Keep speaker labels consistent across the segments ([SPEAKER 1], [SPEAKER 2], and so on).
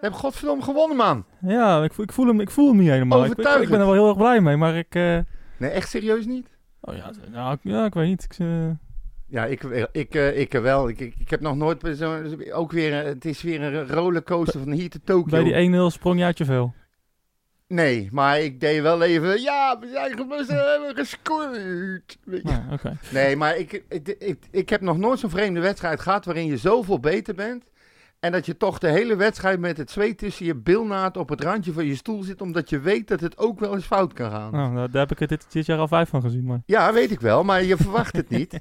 [SPEAKER 1] We hebben godverdomme gewonnen, man.
[SPEAKER 2] Ja, ik voel, ik voel, hem, ik voel hem niet helemaal. Ik, ik, ik ben er wel heel erg blij mee, maar ik... eh,
[SPEAKER 1] Nee, echt serieus niet?
[SPEAKER 2] oh ja, t- nou, ik- ja, ik weet niet. Ik, eh,
[SPEAKER 1] Ja, ik, ik, eh, ik eh, wel. Ik, ik, ik heb nog nooit bij zo'n... Ook weer, eh, het is weer een rollercoaster van hier te Tokio.
[SPEAKER 2] bij die e- 1-0 sprong je uit je vel.
[SPEAKER 1] Nee, maar ik deed wel even... Ja, we zijn ge- we hebben gescoord. Weet je.
[SPEAKER 2] Ja, oké.
[SPEAKER 1] Nee, maar ik, ik, ik, ik heb nog nooit zo'n vreemde wedstrijd gehad waarin je zoveel beter bent. En dat je toch de hele wedstrijd met het zweet tussen je bilnaad op het randje van je stoel zit. Omdat je weet dat het ook wel eens fout kan gaan.
[SPEAKER 2] Nou, daar, daar heb ik het dit, dit jaar al vijf van gezien, maar
[SPEAKER 1] Ja, weet ik wel, maar je verwacht het niet.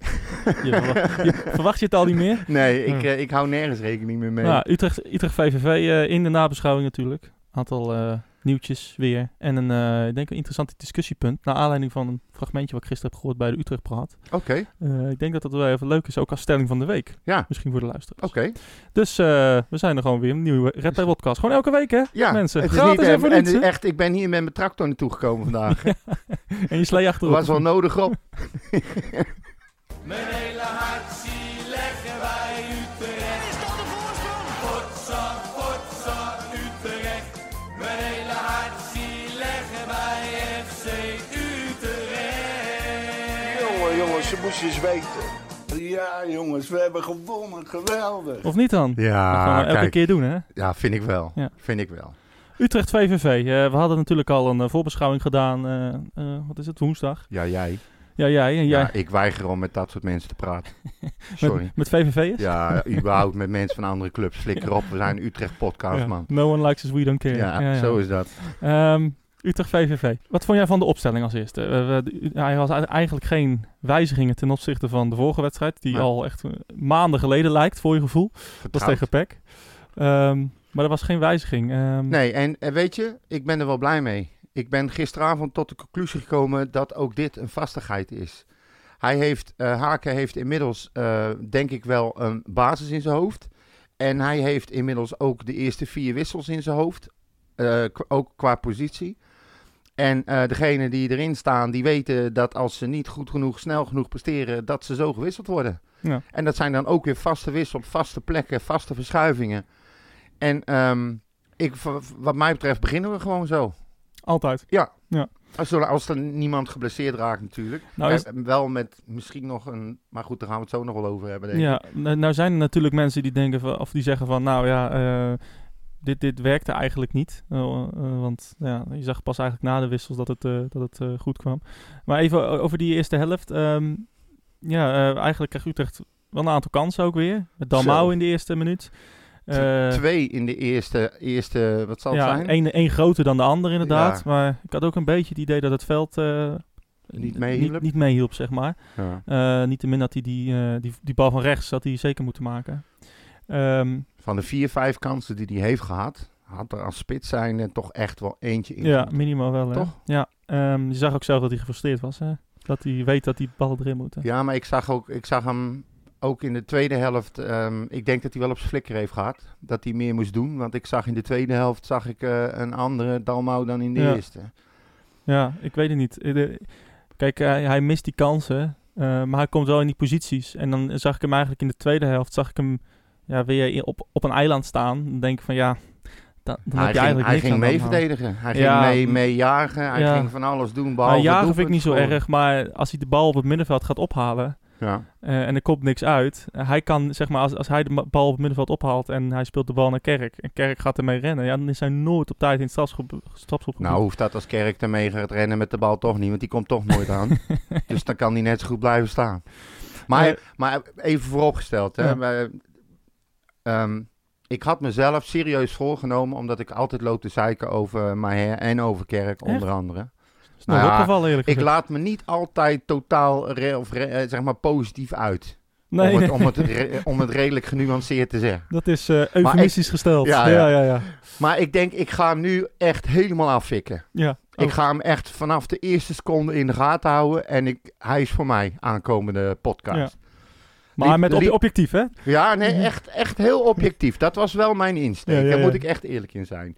[SPEAKER 2] je verwacht, je, verwacht je het al niet meer?
[SPEAKER 1] Nee, ik,
[SPEAKER 2] Hm.
[SPEAKER 1] eh, ik hou nergens rekening meer mee.
[SPEAKER 2] Nou, Utrecht, Utrecht VVV eh, in de nabeschouwing natuurlijk. Aantal eh, nieuwtjes weer. En een, eh, ik denk een interessant discussiepunt. Naar aanleiding van een fragmentje wat ik gisteren heb gehoord bij de Utrecht Praat.
[SPEAKER 1] Oké,
[SPEAKER 2] Eh, ik denk dat dat wel even leuk is, ook als stelling van de week.
[SPEAKER 1] Ja.
[SPEAKER 2] Misschien voor de luisteraars.
[SPEAKER 1] oké.
[SPEAKER 2] Dus eh, we zijn er gewoon weer. Een nieuwe Red Bull podcast. Gewoon elke week, hè?
[SPEAKER 1] Ja,
[SPEAKER 2] Mensen,
[SPEAKER 1] het is
[SPEAKER 2] gratis
[SPEAKER 1] niet,
[SPEAKER 2] en
[SPEAKER 1] eh,
[SPEAKER 2] voor
[SPEAKER 1] en
[SPEAKER 2] niets,
[SPEAKER 1] het is
[SPEAKER 2] hè?
[SPEAKER 1] echt, ik ben hier met mijn tractor naartoe gekomen vandaag.
[SPEAKER 2] En je slee achterop.
[SPEAKER 1] was wel nodig op.
[SPEAKER 3] Mijn hele hart zie leggen wij Utrecht. Is dat de voorsprong? Potsa, potsa, Utrecht. Mijn hele hart zie leggen wij FC Utrecht.
[SPEAKER 4] Jongen, jongens, ze moesten eens weten. Ja, jongens, we hebben gewonnen. Geweldig.
[SPEAKER 2] Of niet dan? dat gaan
[SPEAKER 1] Ja,
[SPEAKER 2] we elke
[SPEAKER 1] kijk.
[SPEAKER 2] keer doen, hè?
[SPEAKER 1] Ja, vind ik wel.
[SPEAKER 2] Ja.
[SPEAKER 1] Vind ik wel.
[SPEAKER 2] Utrecht VVV. eh, we hadden natuurlijk al een eh, voorbeschouwing gedaan. eh, eh, wat is het? Woensdag.
[SPEAKER 1] Ja, jij.
[SPEAKER 2] Ja, jij. En jij.
[SPEAKER 1] Ja, ik weiger om met dat soort mensen te praten. Sorry.
[SPEAKER 2] met, met VVV'ers?
[SPEAKER 1] Ja, überhaupt met mensen van andere clubs. Flikker op, we zijn een Utrecht-podcast,
[SPEAKER 2] Ja.
[SPEAKER 1] man.
[SPEAKER 2] No one likes us, we don't care.
[SPEAKER 1] Ja, zo is dat.
[SPEAKER 2] Ehm, Utrecht VVV. Wat vond jij van de opstelling als eerste? Eh, we- de- hij had eigenlijk geen wijzigingen ten opzichte van de vorige wedstrijd. Die
[SPEAKER 1] Nee.
[SPEAKER 2] al echt eh, maanden geleden lijkt, voor je gevoel. Dat was
[SPEAKER 1] Vertrouwd.
[SPEAKER 2] tegen PEC. Ehm, maar er was geen wijziging. Ehm,
[SPEAKER 1] Nee, en, en weet je, ik ben er wel blij mee. Ik ben gisteravond tot de conclusie gekomen dat ook dit een vastigheid is. Hij heeft, eh Haken heeft inmiddels, eh, denk ik wel, een basis in zijn hoofd. En hij heeft inmiddels ook de eerste vier wissels in zijn hoofd. eh, k- ook qua positie. En eh degenen die erin staan, die weten dat als ze niet goed genoeg, snel genoeg presteren, dat ze zo gewisseld worden.
[SPEAKER 2] Ja.
[SPEAKER 1] En dat zijn dan ook weer vaste wissels, vaste plekken, vaste verschuivingen. En ehm, ik, v- wat mij betreft beginnen we gewoon zo.
[SPEAKER 2] Altijd.
[SPEAKER 1] Als er, als er niemand geblesseerd raakt natuurlijk.
[SPEAKER 2] Nou,
[SPEAKER 1] Eh,
[SPEAKER 2] is-
[SPEAKER 1] Wel met misschien nog een... Maar goed, daar gaan we het zo nog wel over hebben. Denk ik.
[SPEAKER 2] Ja, nou nou zijn er natuurlijk mensen die denken van, of die zeggen van, nou ja, eh, dit, dit werkte eigenlijk niet. Eh, eh, want ja, je zag pas eigenlijk na de wissels dat het, eh, dat het eh, goed kwam. Maar even o- over die eerste helft. ehm, ja, eh, eigenlijk kreeg Utrecht wel een aantal kansen ook weer. Met
[SPEAKER 1] Zo.
[SPEAKER 2] Dalmau in de eerste minuut. Eh,
[SPEAKER 1] Twee in de eerste... eerste wat zal het
[SPEAKER 2] ja,
[SPEAKER 1] zijn?
[SPEAKER 2] één één groter dan de ander inderdaad.
[SPEAKER 1] Ja.
[SPEAKER 2] Maar ik had ook een beetje het idee dat het veld... eh,
[SPEAKER 1] Niet
[SPEAKER 2] n-
[SPEAKER 1] meehielp.
[SPEAKER 2] Niet, niet meehielp, zeg maar.
[SPEAKER 1] Ja,
[SPEAKER 2] Eh niettemin had hij die, eh, die, die bal van rechts had hij zeker moeten maken. Ehm,
[SPEAKER 1] Van de vier, vijf kansen die hij heeft gehad... had er als spits zijn er toch echt wel eentje in.
[SPEAKER 2] ja, minimaal wel. hè.
[SPEAKER 1] Toch?
[SPEAKER 2] Ja. Ehm, je zag ook zelf dat hij gefrustreerd was. Hè? Dat hij weet dat die ballen erin moeten.
[SPEAKER 1] Ja, maar ik zag, ook, ik zag hem ook in de tweede helft. ehm, ik denk dat hij wel op zijn flikker heeft gehad. Dat hij meer moest doen. Want ik zag in de tweede helft zag ik, eh, een andere Dalmau dan in de
[SPEAKER 2] Ja.
[SPEAKER 1] eerste.
[SPEAKER 2] Ja, ik weet het niet. Eh, de- Kijk, hij, hij mist die kansen. eh, maar hij komt wel in die posities. En dan zag ik hem eigenlijk in de tweede helft. Zag ik hem ja, weer in- op, op een eiland staan. Dan denk ik van ja. da- dan
[SPEAKER 1] hij
[SPEAKER 2] heb je
[SPEAKER 1] ging,
[SPEAKER 2] eigenlijk
[SPEAKER 1] hij
[SPEAKER 2] niks
[SPEAKER 1] ging
[SPEAKER 2] aan de
[SPEAKER 1] mee
[SPEAKER 2] hand.
[SPEAKER 1] verdedigen. Hij
[SPEAKER 2] Ja,
[SPEAKER 1] ging mee,
[SPEAKER 2] mm.
[SPEAKER 1] mee jagen. Hij
[SPEAKER 2] Ja.
[SPEAKER 1] ging van alles doen.
[SPEAKER 2] Nou,
[SPEAKER 1] Behalve
[SPEAKER 2] jagen vind ik
[SPEAKER 1] doelpunt
[SPEAKER 2] niet zo
[SPEAKER 1] scoren.
[SPEAKER 2] erg. Maar als hij de bal op het middenveld gaat ophalen.
[SPEAKER 1] Ja.
[SPEAKER 2] Eh, en er komt niks uit. Eh, hij kan, zeg maar, als, als hij de ma- bal op het middenveld ophaalt en hij speelt de bal naar Kerk. En Kerk gaat ermee rennen. Ja, dan is hij nooit op tijd in het strafschop, strafschopgebied.
[SPEAKER 1] Nou, hoeft dat als Kerk ermee gaat rennen met de bal toch niet. Want die komt toch nooit aan. dus dan kan hij net zo goed blijven staan. Maar,
[SPEAKER 2] Eh.
[SPEAKER 1] maar even vooropgesteld. Hè,
[SPEAKER 2] Ja.
[SPEAKER 1] wij- ehm, ik had mezelf serieus voorgenomen. Omdat ik altijd loop te zeiken over Maher en over Kerk onder andere.
[SPEAKER 2] is nog
[SPEAKER 1] nou ja,
[SPEAKER 2] opgevallen eerlijk
[SPEAKER 1] Ik
[SPEAKER 2] gezegd.
[SPEAKER 1] laat me niet altijd totaal re- of re- eh, zeg maar positief uit.
[SPEAKER 2] nee,
[SPEAKER 1] om, het,
[SPEAKER 2] nee,
[SPEAKER 1] om, het re- om het redelijk genuanceerd te zeggen.
[SPEAKER 2] dat is eh eufemistisch gesteld.
[SPEAKER 1] Ja,
[SPEAKER 2] Ja,
[SPEAKER 1] ja.
[SPEAKER 2] ja, ja. ja.
[SPEAKER 1] Maar ik denk, ik ga hem nu echt helemaal afvikken.
[SPEAKER 2] Oh.
[SPEAKER 1] Ik ga hem echt vanaf de eerste seconde in de gaten houden. En ik, hij is voor mij aankomende podcast.
[SPEAKER 2] maar
[SPEAKER 1] liep-
[SPEAKER 2] met
[SPEAKER 1] liep-
[SPEAKER 2] op, objectief, hè?
[SPEAKER 1] Ja, nee, echt, echt heel objectief. Dat was wel mijn insteek.
[SPEAKER 2] Ja, ja,
[SPEAKER 1] Daar
[SPEAKER 2] ja.
[SPEAKER 1] moet ik echt eerlijk in zijn.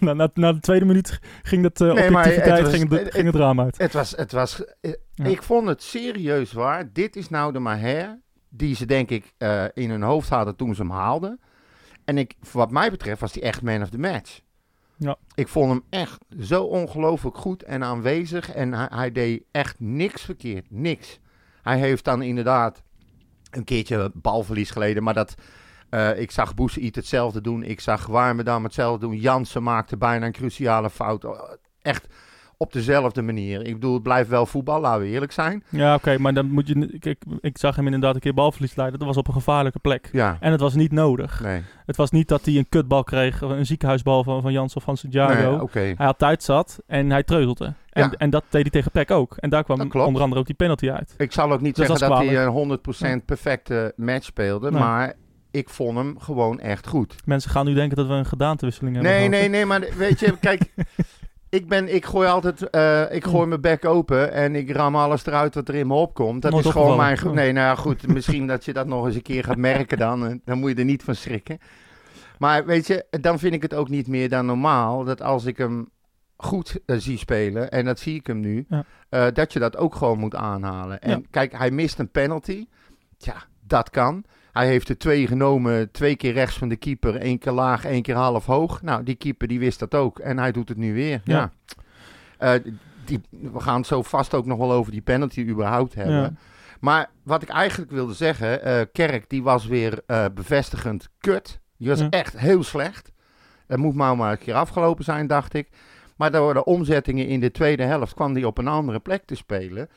[SPEAKER 2] na, na, na de tweede minuut ging dat eh,
[SPEAKER 1] Nee, maar
[SPEAKER 2] objectiviteit,
[SPEAKER 1] het was-
[SPEAKER 2] ging, het,
[SPEAKER 1] het-
[SPEAKER 2] ging het raam uit.
[SPEAKER 1] Het was, het was eh,
[SPEAKER 2] Ja.
[SPEAKER 1] ik vond het serieus waar. Dit is nou de Maher die ze denk ik eh, in hun hoofd hadden toen ze hem haalden. En ik, voor wat mij betreft was hij echt man of the match.
[SPEAKER 2] Ja.
[SPEAKER 1] Ik vond hem echt zo ongelooflijk goed en aanwezig. En hij, hij deed echt niks verkeerd. Niks. Hij heeft dan inderdaad een keertje balverlies geleden. Maar dat, eh, ik zag Boesiet hetzelfde doen. Ik zag Warmerdam hetzelfde doen. Jansen maakte bijna een cruciale fout. Oh, Echt op dezelfde manier. Ik bedoel, het blijft wel voetbal, laten we eerlijk zijn.
[SPEAKER 2] Ja, oké, maar dan moet je. n- Kijk, ik zag hem inderdaad een keer balverlies leiden. Dat was op een gevaarlijke plek.
[SPEAKER 1] Ja,
[SPEAKER 2] En het was niet nodig.
[SPEAKER 1] nee.
[SPEAKER 2] Het was niet dat hij een kutbal kreeg, of een ziekenhuisbal van, van Jans of van Santiago.
[SPEAKER 1] Nee, oké.
[SPEAKER 2] Hij had tijd zat en hij treuzelde. En,
[SPEAKER 1] Ja.
[SPEAKER 2] en dat deed hij tegen Peck ook. En daar kwam
[SPEAKER 1] Dat klopt.
[SPEAKER 2] onder andere ook die penalty uit.
[SPEAKER 1] Ik zal ook niet
[SPEAKER 2] Dus dat
[SPEAKER 1] zeggen dat
[SPEAKER 2] is
[SPEAKER 1] hij een 100% perfecte match speelde,
[SPEAKER 2] Nee.
[SPEAKER 1] maar ik vond hem gewoon echt goed.
[SPEAKER 2] Mensen gaan nu denken dat we een gedaantewisseling hebben.
[SPEAKER 1] Nee,
[SPEAKER 2] gehad.
[SPEAKER 1] nee, nee, maar weet je, kijk, ik, ben, ik gooi altijd, eh, ik gooi mijn bek open en ik ram alles eruit wat er in me opkomt. Dat
[SPEAKER 2] Nooit
[SPEAKER 1] is gewoon
[SPEAKER 2] opgevallen. Oh.
[SPEAKER 1] mijn... ge- Nee, nou ja, goed, misschien dat je dat nog eens een keer gaat merken dan, eh, dan moet je er niet van schrikken. Maar weet je, dan vind ik het ook niet meer dan normaal dat als ik hem goed eh, zie spelen, en dat zie ik hem nu,
[SPEAKER 2] Ja.
[SPEAKER 1] eh, dat je dat ook gewoon moet aanhalen. En
[SPEAKER 2] Ja.
[SPEAKER 1] kijk, hij mist een penalty. Ja, dat kan. Hij heeft er twee genomen, twee keer rechts van de keeper, één keer laag, één keer half hoog. Nou, die keeper die wist dat ook en hij doet het nu weer. Ja.
[SPEAKER 2] Ja.
[SPEAKER 1] Eh, die, we gaan het zo vast ook nog wel over die penalty überhaupt hebben.
[SPEAKER 2] Ja.
[SPEAKER 1] Maar wat ik eigenlijk wilde zeggen, eh, Kerk die was weer eh, bevestigend kut. Die was
[SPEAKER 2] Ja.
[SPEAKER 1] echt heel slecht. Dat moet maar maar een keer afgelopen zijn, dacht ik. Maar door de omzettingen in de tweede helft kwam hij op een andere plek te spelen.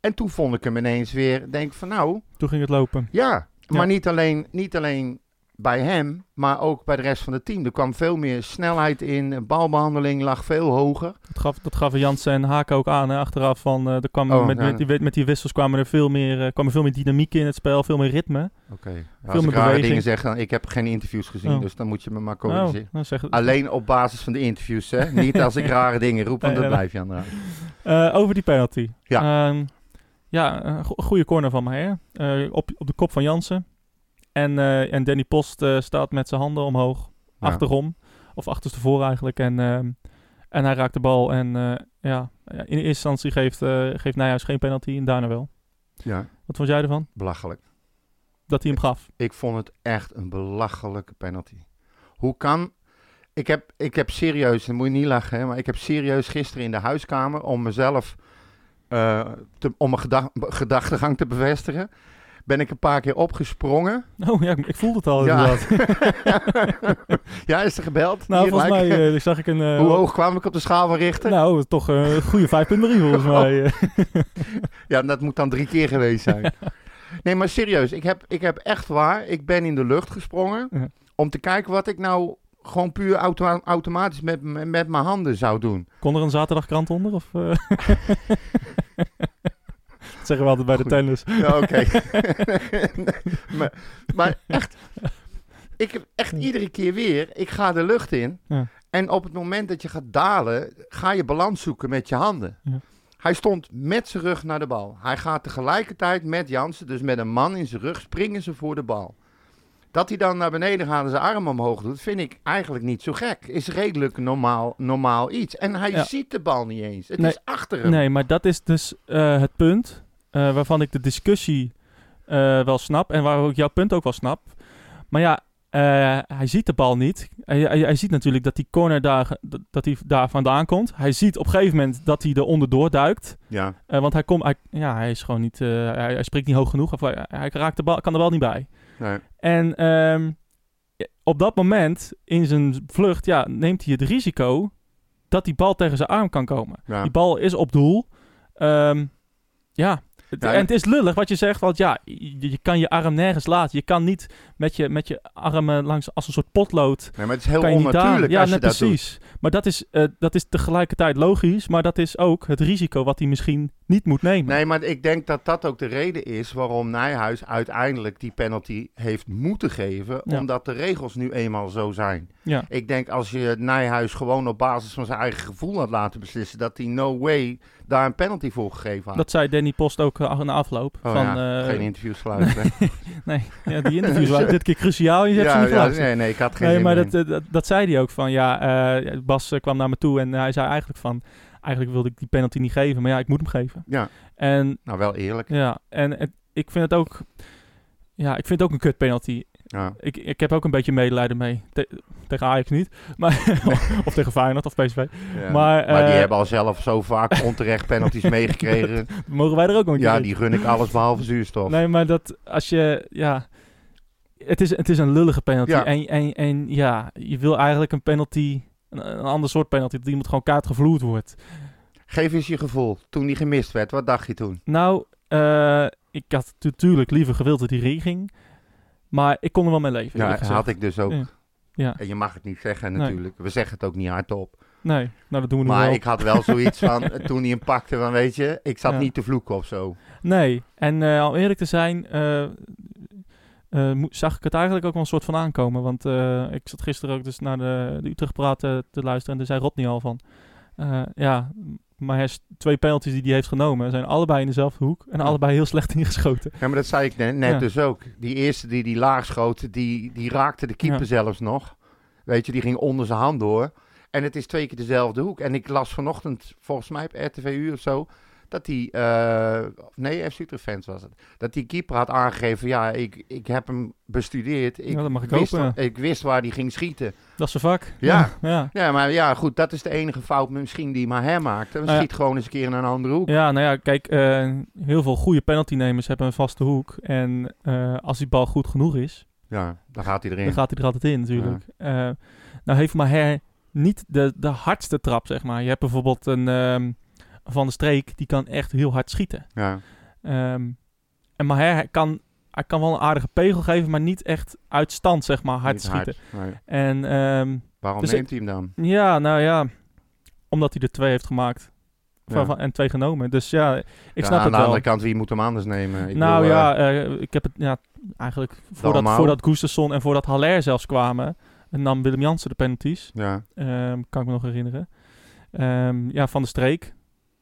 [SPEAKER 1] En toen vond ik hem ineens weer, denk van nou,
[SPEAKER 2] Toen ging het lopen.
[SPEAKER 1] ja, maar
[SPEAKER 2] Ja.
[SPEAKER 1] Niet, alleen, niet alleen bij hem, maar ook bij de rest van het team. Er kwam veel meer snelheid in, de balbehandeling lag veel hoger.
[SPEAKER 2] Dat, gaf, dat gaven Jansen en Haken ook aan hè, achteraf. Van, eh, er kwam,
[SPEAKER 1] Oh,
[SPEAKER 2] met,
[SPEAKER 1] ja.
[SPEAKER 2] met, die, met die wissels kwamen er veel meer, eh, kwam er veel meer dynamiek in het spel, veel meer ritme.
[SPEAKER 1] Oké,
[SPEAKER 2] meer
[SPEAKER 1] als ik rare
[SPEAKER 2] beweging.
[SPEAKER 1] dingen zeg, dan, ik heb geen interviews gezien,
[SPEAKER 2] Oh.
[SPEAKER 1] dus dan moet je me maar
[SPEAKER 2] Oh,
[SPEAKER 1] corrigeren.
[SPEAKER 2] nou zeg,
[SPEAKER 1] Alleen op basis van de interviews, hè? Niet als ik rare dingen roep, want
[SPEAKER 2] Nee,
[SPEAKER 1] dat
[SPEAKER 2] nee,
[SPEAKER 1] blijf je aan de hand.
[SPEAKER 2] Eh, over die penalty.
[SPEAKER 1] Ja.
[SPEAKER 2] Ehm, ja, een go- goede corner van Meijer. Eh, op, op de kop van Jansen. En, eh, en Danny Post eh, staat met zijn handen omhoog.
[SPEAKER 1] Ja.
[SPEAKER 2] Achterom. Of achterstevoor eigenlijk. En, ehm, en hij raakt de bal. En eh, ja, in eerste instantie geeft, eh, geeft Nijhuis geen penalty. En daarna wel.
[SPEAKER 1] Ja,
[SPEAKER 2] Wat vond jij ervan?
[SPEAKER 1] belachelijk.
[SPEAKER 2] Dat hij hem gaf.
[SPEAKER 1] Ik vond het echt een belachelijke penalty. Hoe kan... Ik heb, ik heb serieus, dan moet je niet lachen, hè, maar ik heb serieus gisteren in de huiskamer om mezelf, eh, te, om mijn geda- gedachtegang te bevestigen, ben ik een paar keer opgesprongen.
[SPEAKER 2] Oh ja, ik, ik voelde het al
[SPEAKER 1] Ja,
[SPEAKER 2] inderdaad.
[SPEAKER 1] ja is er gebeld?
[SPEAKER 2] Nou,
[SPEAKER 1] Hier
[SPEAKER 2] volgens
[SPEAKER 1] gelijk.
[SPEAKER 2] mij eh, zag ik een... eh,
[SPEAKER 1] Hoe hoog kwam ik op de schaal van Richter?
[SPEAKER 2] Nou, toch eh, een goede 5.3 volgens
[SPEAKER 1] Oh.
[SPEAKER 2] mij. eh.
[SPEAKER 1] Ja, dat moet dan drie keer geweest zijn. Nee, maar serieus, ik heb, ik heb echt waar, ik ben in de lucht gesprongen
[SPEAKER 2] Ja.
[SPEAKER 1] om te kijken wat ik nou gewoon puur auto- automatisch met, m- met mijn handen zou doen.
[SPEAKER 2] Kon er een zaterdagkrant onder? Of, eh? dat zeggen we altijd bij de
[SPEAKER 1] Goed.
[SPEAKER 2] tennis.
[SPEAKER 1] Ja, Oké. maar, maar echt, ik heb echt iedere keer weer, ik ga de lucht in
[SPEAKER 2] Hmm. Ja.
[SPEAKER 1] en op het moment dat je gaat dalen, ga je balans zoeken met je handen.
[SPEAKER 2] Ja.
[SPEAKER 1] Hij stond met zijn rug naar de bal. Hij gaat tegelijkertijd met Jansen, dus met een man in zijn rug, springen ze voor de bal. Dat hij dan naar beneden gaat en zijn arm omhoog doet, vind ik eigenlijk niet zo gek. Is redelijk normaal, normaal iets. En hij
[SPEAKER 2] Ja.
[SPEAKER 1] ziet de bal niet eens. Het
[SPEAKER 2] Nee.
[SPEAKER 1] is achter hem.
[SPEAKER 2] Nee, maar dat is dus eh, het punt eh, waarvan ik de discussie eh, wel snap. En waar ook jouw punt ook wel snap. Maar ja, eh, hij ziet de bal niet. Hij, hij, hij ziet natuurlijk dat die corner daar, dat- dat hij daar vandaan komt. Hij ziet op een gegeven moment dat hij er onderdoor duikt.
[SPEAKER 1] Ja.
[SPEAKER 2] Eh, want hij, komt, hij, ja, hij is gewoon niet. eh, hij, hij spreekt niet hoog genoeg. Of hij, hij raakt de bal, kan er wel niet bij.
[SPEAKER 1] Nee.
[SPEAKER 2] En ehm, ja, op dat moment in zijn vlucht ja, neemt hij het risico dat die bal tegen zijn arm kan komen.
[SPEAKER 1] Ja.
[SPEAKER 2] Die bal is op doel. Ehm, ja. Het-
[SPEAKER 1] Ja,
[SPEAKER 2] en het is lullig wat je zegt, want ja, je, je kan je arm nergens laten. Je kan niet met je, met je armen langs als een soort potlood.
[SPEAKER 1] Nee, maar het is heel
[SPEAKER 2] kan je niet
[SPEAKER 1] onnatuurlijk
[SPEAKER 2] daar. Ja,
[SPEAKER 1] als je
[SPEAKER 2] net
[SPEAKER 1] dat doet.
[SPEAKER 2] precies. Maar dat is, eh, dat is tegelijkertijd logisch, maar dat is ook het risico wat hij misschien niet moet nemen.
[SPEAKER 1] Nee, maar ik denk dat dat ook de reden is waarom Nijhuis uiteindelijk die penalty heeft moeten geven.
[SPEAKER 2] Ja.
[SPEAKER 1] Omdat de regels nu eenmaal zo zijn.
[SPEAKER 2] Ja.
[SPEAKER 1] Ik denk als je Nijhuis gewoon op basis van zijn eigen gevoel had laten beslissen, dat hij no way daar een penalty voor gegeven had.
[SPEAKER 2] Dat zei Danny Post ook eh, na afloop.
[SPEAKER 1] Ah. Oh
[SPEAKER 2] van,
[SPEAKER 1] ja,
[SPEAKER 2] eh,
[SPEAKER 1] geen interviews luisteren.
[SPEAKER 2] nee, ja, die interviews waren dit keer cruciaal. Je hebt ze
[SPEAKER 1] ja,
[SPEAKER 2] niet
[SPEAKER 1] ja,
[SPEAKER 2] geluisterd.
[SPEAKER 1] nee, nee, ik had geen
[SPEAKER 2] Nee,
[SPEAKER 1] zin
[SPEAKER 2] maar
[SPEAKER 1] meer
[SPEAKER 2] dat, eh, dat, dat zei hij ook van, ja, eh, Bas eh, kwam naar me toe en hij zei eigenlijk van, eigenlijk wilde ik die penalty niet geven, maar ja, ik moet hem geven.
[SPEAKER 1] Ja.
[SPEAKER 2] En
[SPEAKER 1] in. Nou, wel eerlijk.
[SPEAKER 2] ja, en het- ik vind het ook, ja, ik vind het ook een kut penalty.
[SPEAKER 1] Ja.
[SPEAKER 2] Ik, ik heb ook een beetje medelijden mee. Te- tegen Ajax niet. Maar, of tegen Feyenoord of PSV.
[SPEAKER 1] Ja.
[SPEAKER 2] Maar,
[SPEAKER 1] die
[SPEAKER 2] eh,
[SPEAKER 1] hebben al zelf zo vaak onterecht penalties meegekregen.
[SPEAKER 2] Mogen wij er ook nog een keer
[SPEAKER 1] Ja,
[SPEAKER 2] in?
[SPEAKER 1] die gun ik alles behalve zuurstof.
[SPEAKER 2] Nee, maar dat als je, ja, het is, het is een lullige penalty.
[SPEAKER 1] Ja.
[SPEAKER 2] En, en, en ja, je wil eigenlijk een penalty, een, een ander soort penalty, dat iemand gewoon kaart gevloerd wordt.
[SPEAKER 1] Geef eens je gevoel. Toen die gemist werd, wat dacht je toen?
[SPEAKER 2] Nou, eh, ik had natuurlijk liever gewild dat hij erin ging, maar ik kon er wel mee leven.
[SPEAKER 1] Ja,
[SPEAKER 2] eerlijk gezegd.
[SPEAKER 1] had ik dus ook.
[SPEAKER 2] Ja. Ja.
[SPEAKER 1] En je mag het niet zeggen
[SPEAKER 2] Nee.
[SPEAKER 1] natuurlijk. We zeggen het ook niet hardop.
[SPEAKER 2] Nee, nou dat doen we nu
[SPEAKER 1] Maar
[SPEAKER 2] wel.
[SPEAKER 1] ik had wel zoiets van, eh, toen hij hem pakte, van weet je, ik zat
[SPEAKER 2] Ja.
[SPEAKER 1] niet te vloeken of zo.
[SPEAKER 2] Nee, en eh, om eerlijk te zijn, eh, eh, mo- zag ik het eigenlijk ook wel een soort van aankomen. Want eh, ik zat gisteren ook dus naar de, de Utrecht praten te luisteren en daar zei Rodney al van. eh, ja, maar hij is- twee penalties die hij heeft genomen zijn allebei in dezelfde hoek en allebei heel slecht ingeschoten.
[SPEAKER 1] Ja, maar dat zei ik net, net
[SPEAKER 2] Ja.
[SPEAKER 1] dus ook. Die eerste die die laag schoot, die, die raakte de keeper
[SPEAKER 2] Ja.
[SPEAKER 1] zelfs nog. Weet je, die ging onder zijn hand door. En het is twee keer dezelfde hoek. En ik las vanochtend, volgens mij op RTV of zo, dat die, eh, nee, FC Utrecht fans was het, dat die keeper had aangegeven, ja, ik, ik heb hem bestudeerd. Ik,
[SPEAKER 2] Ja, dat mag ik
[SPEAKER 1] wist,
[SPEAKER 2] hopen.
[SPEAKER 1] wa- ik wist waar die ging schieten.
[SPEAKER 2] Dat is zijn vak.
[SPEAKER 1] Ja.
[SPEAKER 2] ja.
[SPEAKER 1] Ja, maar ja, goed, dat is de enige fout misschien die Maher maakt. We
[SPEAKER 2] Nou ja.
[SPEAKER 1] schiet gewoon eens een keer in een andere hoek.
[SPEAKER 2] Ja, nou ja, kijk, eh, heel veel goede penaltynemers hebben een vaste hoek. En eh, als die bal goed genoeg is,
[SPEAKER 1] Ja, dan gaat hij erin.
[SPEAKER 2] Dan gaat hij er altijd in, natuurlijk. Eh, nou heeft Maher niet de, de hardste trap, zeg maar. Je hebt bijvoorbeeld een ehm, Van de Streek, die kan echt heel hard schieten.
[SPEAKER 1] Ja.
[SPEAKER 2] Ehm, en Maher hij kan, hij kan wel een aardige pegel geven, maar niet echt uit stand, zeg maar, hard
[SPEAKER 1] Niet
[SPEAKER 2] schieten.
[SPEAKER 1] Nee.
[SPEAKER 2] En ehm,
[SPEAKER 1] Waarom
[SPEAKER 2] Dus ik-
[SPEAKER 1] neemt hij hem dan?
[SPEAKER 2] ja, nou ja, omdat hij er twee heeft gemaakt. Van-
[SPEAKER 1] Ja.
[SPEAKER 2] van- En twee genomen. Dus ja, ik
[SPEAKER 1] Ja, nou,
[SPEAKER 2] snap
[SPEAKER 1] aan
[SPEAKER 2] het
[SPEAKER 1] de
[SPEAKER 2] wel.
[SPEAKER 1] andere kant, wie moet hem anders nemen? Ik
[SPEAKER 2] nou
[SPEAKER 1] bedoel, eh,
[SPEAKER 2] ja, eh, ik heb het ja, eigenlijk voordat,
[SPEAKER 1] allemaal.
[SPEAKER 2] voordat Gustafsson en voordat Haller zelfs kwamen, eh, nam Willem Jansen de penalties.
[SPEAKER 1] eh, ja.
[SPEAKER 2] Ehm, kan ik me nog herinneren. Ehm, ja, Van de Streek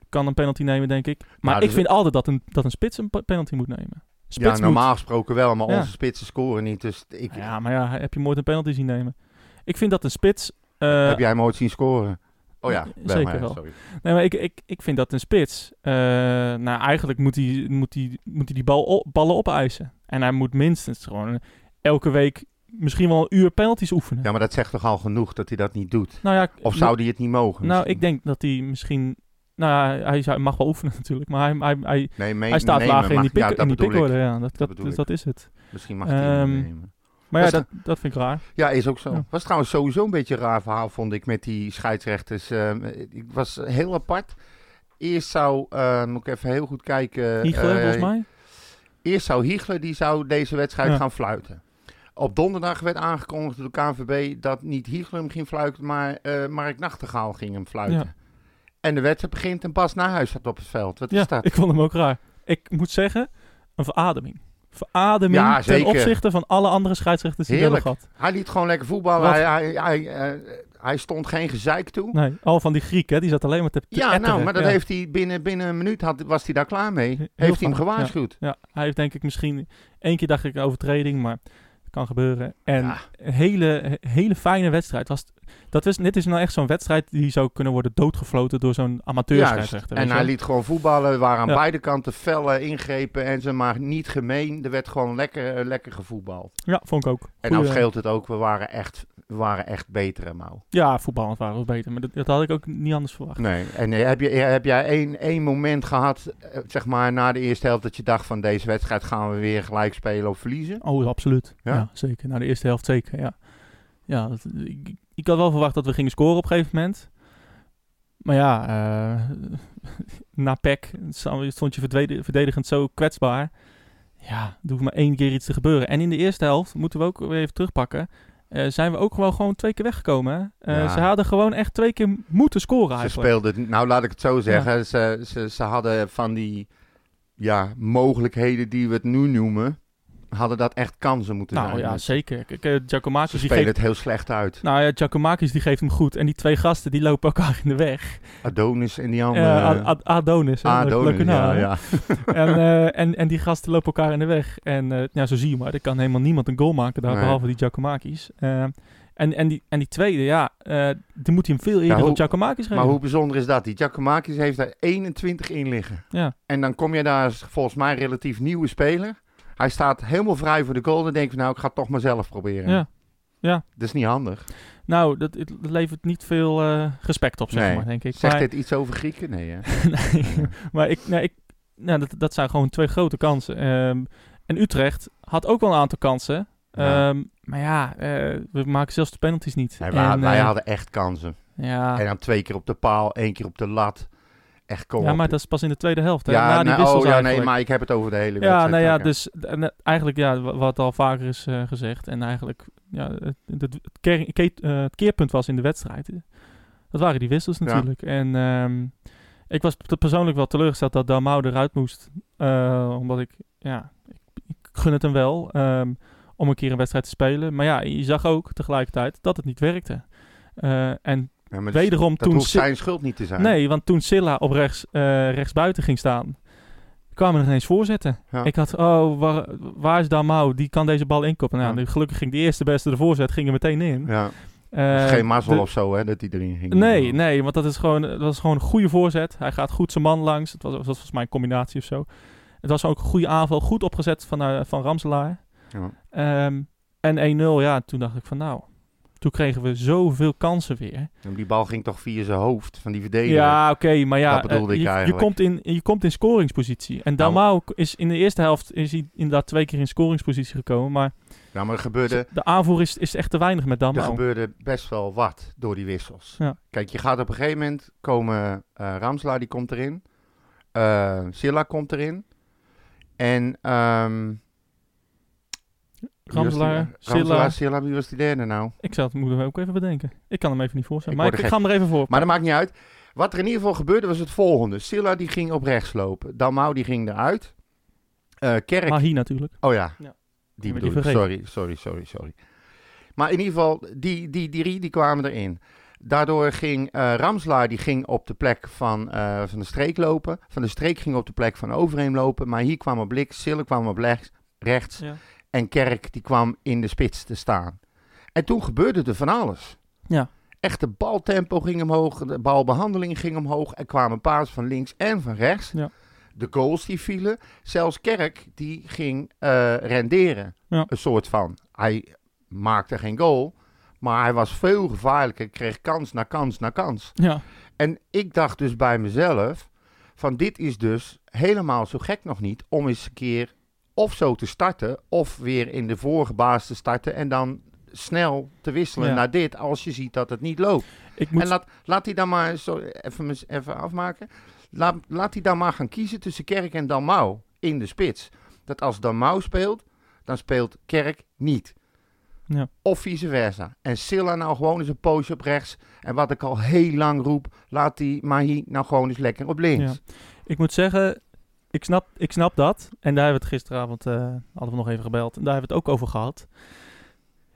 [SPEAKER 2] kan een penalty nemen, denk ik. Maar
[SPEAKER 1] Nou,
[SPEAKER 2] ik
[SPEAKER 1] dus-
[SPEAKER 2] vind altijd dat een, dat een spits een pe- penalty moet nemen. Spits
[SPEAKER 1] ja,
[SPEAKER 2] moet-
[SPEAKER 1] normaal gesproken wel, maar
[SPEAKER 2] Ja.
[SPEAKER 1] onze spitsen scoren niet. Dus ik,
[SPEAKER 2] Ja, maar ja, heb je hem ooit een penalty zien nemen? Ik vind dat een spits... eh,
[SPEAKER 1] heb jij hem ooit zien scoren? Oh ja, wel,
[SPEAKER 2] Zeker
[SPEAKER 1] maar ja,
[SPEAKER 2] wel.
[SPEAKER 1] Sorry.
[SPEAKER 2] Nee, maar ik, ik, ik vind dat een spits... eh, nou, eigenlijk moet hij, moet hij, moet hij die bal op, ballen opeisen. En hij moet minstens gewoon elke week misschien wel een uur penalties oefenen.
[SPEAKER 1] Ja, maar dat zegt toch al genoeg dat hij dat niet doet?
[SPEAKER 2] Nou ja,
[SPEAKER 1] Of zou hij het niet mogen?
[SPEAKER 2] Nou,
[SPEAKER 1] misschien?
[SPEAKER 2] ik denk dat hij misschien... Nou ja, hij zou- mag wel oefenen natuurlijk, maar hij, hij, hij,
[SPEAKER 1] nee, mee-
[SPEAKER 2] hij staat
[SPEAKER 1] nemen
[SPEAKER 2] lager in
[SPEAKER 1] mag-
[SPEAKER 2] die, pik,
[SPEAKER 1] ja, dat
[SPEAKER 2] in die
[SPEAKER 1] bedoel ik.
[SPEAKER 2] pikorde, ja. Dat, dat,
[SPEAKER 1] bedoel ik.
[SPEAKER 2] dat, is het.
[SPEAKER 1] Misschien mag hij hem
[SPEAKER 2] Ehm,
[SPEAKER 1] niet nemen.
[SPEAKER 2] Maar ja,
[SPEAKER 1] Dat
[SPEAKER 2] dat, dat vind ik raar.
[SPEAKER 1] Ja, is ook zo.
[SPEAKER 2] Ja.
[SPEAKER 1] Was trouwens sowieso een beetje een raar verhaal, vond ik, met die scheidsrechters. Ehm, ik was heel apart. Eerst zou, ehm, moet ik even heel goed kijken.
[SPEAKER 2] Hiegelen,
[SPEAKER 1] eh,
[SPEAKER 2] volgens mij.
[SPEAKER 1] Eerst zou Hiegler, die zou deze wedstrijd
[SPEAKER 2] Ja.
[SPEAKER 1] gaan fluiten. Op donderdag werd aangekondigd door de KNVB dat niet Hiegler hem ging fluiten, maar eh, Mark Nachtegaal ging hem fluiten.
[SPEAKER 2] Ja.
[SPEAKER 1] En de wedstrijd begint en Bas Nahuis staat op het veld. Wat
[SPEAKER 2] Ja,
[SPEAKER 1] is dat?
[SPEAKER 2] ik vond hem ook raar. Ik moet zeggen, een verademing. Verademing
[SPEAKER 1] Ja,
[SPEAKER 2] ten
[SPEAKER 1] zeker.
[SPEAKER 2] opzichte van alle andere scheidsrechters die we hebben
[SPEAKER 1] Heerlijk.
[SPEAKER 2] gehad.
[SPEAKER 1] Hij liet gewoon lekker voetballen.
[SPEAKER 2] Wat?
[SPEAKER 1] Hij, hij, hij, eh, hij stond geen gezeik toe.
[SPEAKER 2] Nee, al van die Griek, hè, die zat alleen maar te, te
[SPEAKER 1] Ja, nou,
[SPEAKER 2] etteren.
[SPEAKER 1] maar dat
[SPEAKER 2] ja.
[SPEAKER 1] heeft hij binnen, binnen een minuut had, was hij daar klaar mee.
[SPEAKER 2] Heel
[SPEAKER 1] Heeft hij hem
[SPEAKER 2] vaak,
[SPEAKER 1] gewaarschuwd.
[SPEAKER 2] Ja, hij heeft denk ik misschien... één keer dacht ik een overtreding, maar het kan gebeuren. En
[SPEAKER 1] Ja.
[SPEAKER 2] een hele, he- hele fijne wedstrijd. Was, dat is, dit is nou echt zo'n wedstrijd die zou kunnen worden doodgefloten door zo'n amateur
[SPEAKER 1] Juist. En
[SPEAKER 2] scheidsrechter. weet je
[SPEAKER 1] hij
[SPEAKER 2] wel.
[SPEAKER 1] liet gewoon voetballen. Er waren aan
[SPEAKER 2] Ja.
[SPEAKER 1] beide kanten felle ingrepen en ze maar niet gemeen. Er werd gewoon lekker, eh, lekker gevoetbald.
[SPEAKER 2] Ja, vond ik ook.
[SPEAKER 1] En dan
[SPEAKER 2] Goeie-
[SPEAKER 1] scheelt het ook. We waren echt, we waren echt beter, hè, Mau.
[SPEAKER 2] Ja, voetballend waren we beter. Maar dat, dat had ik ook niet anders verwacht.
[SPEAKER 1] Nee. En eh, heb, je, eh, heb jij één, één moment gehad, eh, zeg maar, na de eerste helft... dat je dacht van deze wedstrijd gaan we weer gelijk spelen of verliezen?
[SPEAKER 2] Oh, absoluut. Ja,
[SPEAKER 1] Ja?
[SPEAKER 2] zeker. Nou, de eerste helft zeker, ja. Ja, dat- ik, ik had wel verwacht dat we gingen scoren op een gegeven moment. Maar ja, eh, na PEC sta- stond je verdwede- verdedigend zo kwetsbaar. Ja, er hoeft maar één keer iets te gebeuren. En in de eerste helft, moeten we ook weer even terugpakken... eh, zijn we ook gewoon, gewoon twee keer weggekomen. hè? Eh,
[SPEAKER 1] Ja.
[SPEAKER 2] Ze hadden gewoon echt twee keer moeten scoren
[SPEAKER 1] Ze
[SPEAKER 2] eigenlijk.
[SPEAKER 1] speelden, het- nou laat ik het zo zeggen, ze, ze, ze hadden van die ja, mogelijkheden die we het nu noemen, hadden dat echt kansen moeten
[SPEAKER 2] Nou
[SPEAKER 1] zijn.
[SPEAKER 2] ja,
[SPEAKER 1] ze
[SPEAKER 2] zeker. Kijk, eh, Giacomakis die
[SPEAKER 1] spelen
[SPEAKER 2] geeft
[SPEAKER 1] het heel slecht uit.
[SPEAKER 2] Nou ja, Giacomakis die geeft hem goed. En die twee gasten die lopen elkaar in de weg.
[SPEAKER 1] Adonis en die andere.
[SPEAKER 2] Eh, Ad- Ad- Adonis. hè? Leuk-
[SPEAKER 1] Adonis,
[SPEAKER 2] leuke naam,
[SPEAKER 1] ja, ja.
[SPEAKER 2] hè? En, eh, en, en die gasten lopen elkaar in de weg. En eh, ja, zo zie je maar. Er kan helemaal niemand een goal maken daar,
[SPEAKER 1] Nee.
[SPEAKER 2] behalve die Giacomakis. Eh, en, en, die, en die tweede, ja, eh die moet hij hem veel eerder
[SPEAKER 1] hoe-
[SPEAKER 2] op Giacomakis geven.
[SPEAKER 1] Maar hoe bijzonder is dat? Die Giacomakis heeft daar 21 in liggen.
[SPEAKER 2] Ja.
[SPEAKER 1] En dan kom je daar als volgens mij relatief nieuwe speler. Hij staat helemaal vrij voor de goal. Dan denk je, nou, ik ga het toch maar zelf proberen.
[SPEAKER 2] Ja. Ja.
[SPEAKER 1] Dat is niet handig.
[SPEAKER 2] Nou, dat, het levert niet veel eh, respect op, zeg
[SPEAKER 1] Nee.
[SPEAKER 2] maar, denk ik. Eh,
[SPEAKER 1] Zegt
[SPEAKER 2] maar,
[SPEAKER 1] dit iets over Grieken? Nee, hè?
[SPEAKER 2] nee, maar ik, nee, ik, nou, dat, dat zijn gewoon twee grote kansen. Ehm, en Utrecht had ook wel een aantal kansen.
[SPEAKER 1] Ja.
[SPEAKER 2] Ehm, maar ja, eh, we maken zelfs de penalties niet.
[SPEAKER 1] Nee, Nou, wij,
[SPEAKER 2] En,
[SPEAKER 1] wij
[SPEAKER 2] eh,
[SPEAKER 1] hadden echt kansen.
[SPEAKER 2] ja,
[SPEAKER 1] En dan twee keer op de paal, één keer op de lat. Echt, kom
[SPEAKER 2] ja,
[SPEAKER 1] op.
[SPEAKER 2] maar dat is pas in de tweede helft. Hè?
[SPEAKER 1] Ja,
[SPEAKER 2] Na die
[SPEAKER 1] nou,
[SPEAKER 2] wissels
[SPEAKER 1] oh, ja, nee,
[SPEAKER 2] eigenlijk.
[SPEAKER 1] maar ik heb het over de hele
[SPEAKER 2] Ja,
[SPEAKER 1] wedstrijd.
[SPEAKER 2] nou ja,
[SPEAKER 1] Oké.
[SPEAKER 2] dus en, eh, eigenlijk ja, wa- wat al vaker is eh, gezegd. En eigenlijk ja, het, het, het ker- ke- eh, het keerpunt was in de wedstrijd. eh, Dat waren die wissels
[SPEAKER 1] Ja.
[SPEAKER 2] natuurlijk. En ehm, ik was p- persoonlijk wel teleurgesteld dat Dalmau eruit moest. Eh, omdat ik, ja, ik, ik gun het hem wel ehm, om een keer een wedstrijd te spelen. Maar ja, je zag ook tegelijkertijd dat het niet werkte. Eh, en
[SPEAKER 1] Ja, maar dat-
[SPEAKER 2] wederom
[SPEAKER 1] dat
[SPEAKER 2] toen...
[SPEAKER 1] hoeft
[SPEAKER 2] Sil-
[SPEAKER 1] zijn schuld niet te zijn.
[SPEAKER 2] Nee, want toen Silla op rechts, eh rechtsbuiten ging staan, kwamen er ineens voorzetten.
[SPEAKER 1] Ja.
[SPEAKER 2] Ik had, oh, waar, waar is Damau? Die kan deze bal inkoppen. Nou,
[SPEAKER 1] Ja.
[SPEAKER 2] nu gelukkig ging de eerste beste de voorzet, ging er meteen in.
[SPEAKER 1] Ja.
[SPEAKER 2] Eh,
[SPEAKER 1] Geen mazzel
[SPEAKER 2] de-
[SPEAKER 1] of zo, hè, dat hij erin ging.
[SPEAKER 2] Nee, nee, want dat is gewoon, dat was gewoon een goede voorzet. Hij gaat goed zijn man langs. Het was, was volgens mij een combinatie of zo. Het was ook een goede aanval, goed opgezet van, eh, van Ramselaar.
[SPEAKER 1] Ja.
[SPEAKER 2] Ehm, en 1-0, ja, toen dacht ik van nou, toen kregen we zoveel kansen weer.
[SPEAKER 1] En Die bal ging toch via zijn hoofd van die verdediger.
[SPEAKER 2] Ja, oké, maar ja,
[SPEAKER 1] Dat bedoelde
[SPEAKER 2] eh,
[SPEAKER 1] ik
[SPEAKER 2] je, je,
[SPEAKER 1] eigenlijk.
[SPEAKER 2] komt in, je komt in scoringspositie. En
[SPEAKER 1] Nou.
[SPEAKER 2] Dalmau is in de eerste helft is hij inderdaad twee keer in scoringspositie gekomen. Maar
[SPEAKER 1] Ja, Nou, maar er gebeurde,
[SPEAKER 2] de aanvoer is, is echt te weinig met
[SPEAKER 1] er
[SPEAKER 2] Dalmau.
[SPEAKER 1] gebeurde best wel wat door die wissels.
[SPEAKER 2] Ja.
[SPEAKER 1] Kijk, je gaat op een gegeven moment komen. eh Ramslaar die komt erin. Eh Silla komt erin. En. ehm, wie was die-
[SPEAKER 2] Ramselaar,
[SPEAKER 1] Ramselaar,
[SPEAKER 2] Silla.
[SPEAKER 1] Silla, wie was die derde nou?
[SPEAKER 2] Ik zou het moeten ook even bedenken. Ik kan hem even niet voorstellen.
[SPEAKER 1] Ik
[SPEAKER 2] Maar ik,
[SPEAKER 1] word er
[SPEAKER 2] ik ga hem er even voor.
[SPEAKER 1] Maar dat maakt niet uit. Wat er in ieder geval gebeurde was het volgende. Silla die ging op rechts lopen. Dalmau die ging eruit. Eh, Kerk
[SPEAKER 2] Mahie natuurlijk.
[SPEAKER 1] Oh ja.
[SPEAKER 2] Ja.
[SPEAKER 1] Die
[SPEAKER 2] Hebben we die
[SPEAKER 1] bedoel ik.
[SPEAKER 2] vergeten.
[SPEAKER 1] Sorry, sorry, sorry, sorry. Maar in ieder geval, die, die, die, die, die kwamen erin. Daardoor ging eh, Ramslaar die ging op de plek van, eh, van de streek lopen. Van de streek ging op de plek van Overheem lopen. Maar hier kwam op links, Sille kwam op rechts, rechts.
[SPEAKER 2] Ja.
[SPEAKER 1] En Kerk die kwam in de spits te staan. En toen gebeurde er van alles.
[SPEAKER 2] Ja.
[SPEAKER 1] Echt de baltempo ging omhoog, de balbehandeling ging omhoog. Er kwamen paas van links en van rechts.
[SPEAKER 2] Ja.
[SPEAKER 1] De goals die vielen. Zelfs Kerk die ging eh, renderen.
[SPEAKER 2] Ja.
[SPEAKER 1] Een soort van. Hij maakte geen goal. Maar hij was veel gevaarlijker. Kreeg kans na kans na kans.
[SPEAKER 2] Ja,
[SPEAKER 1] En ik dacht dus bij mezelf: van dit is dus helemaal zo gek nog niet om eens een keer of zo te starten, of weer in de vorige baas te starten en dan snel te wisselen
[SPEAKER 2] Ja.
[SPEAKER 1] naar dit als je ziet dat het niet loopt.
[SPEAKER 2] ik moet...
[SPEAKER 1] En laat, laat hij dan maar, sorry, even, mis- even afmaken, laat, laat hij dan maar gaan kiezen tussen Kerk en Dalmau in de spits. Dat als Dalmau speelt, dan speelt Kerk niet.
[SPEAKER 2] Ja.
[SPEAKER 1] Of vice versa. En Silla nou gewoon eens een poosje op rechts. En wat ik al heel lang roep, laat die Mahi nou gewoon eens lekker op links.
[SPEAKER 2] Ik moet zeggen, ik snap, ik snap dat. En daar hebben we het gisteravond, eh, hadden we nog even gebeld. En daar hebben we het ook over gehad.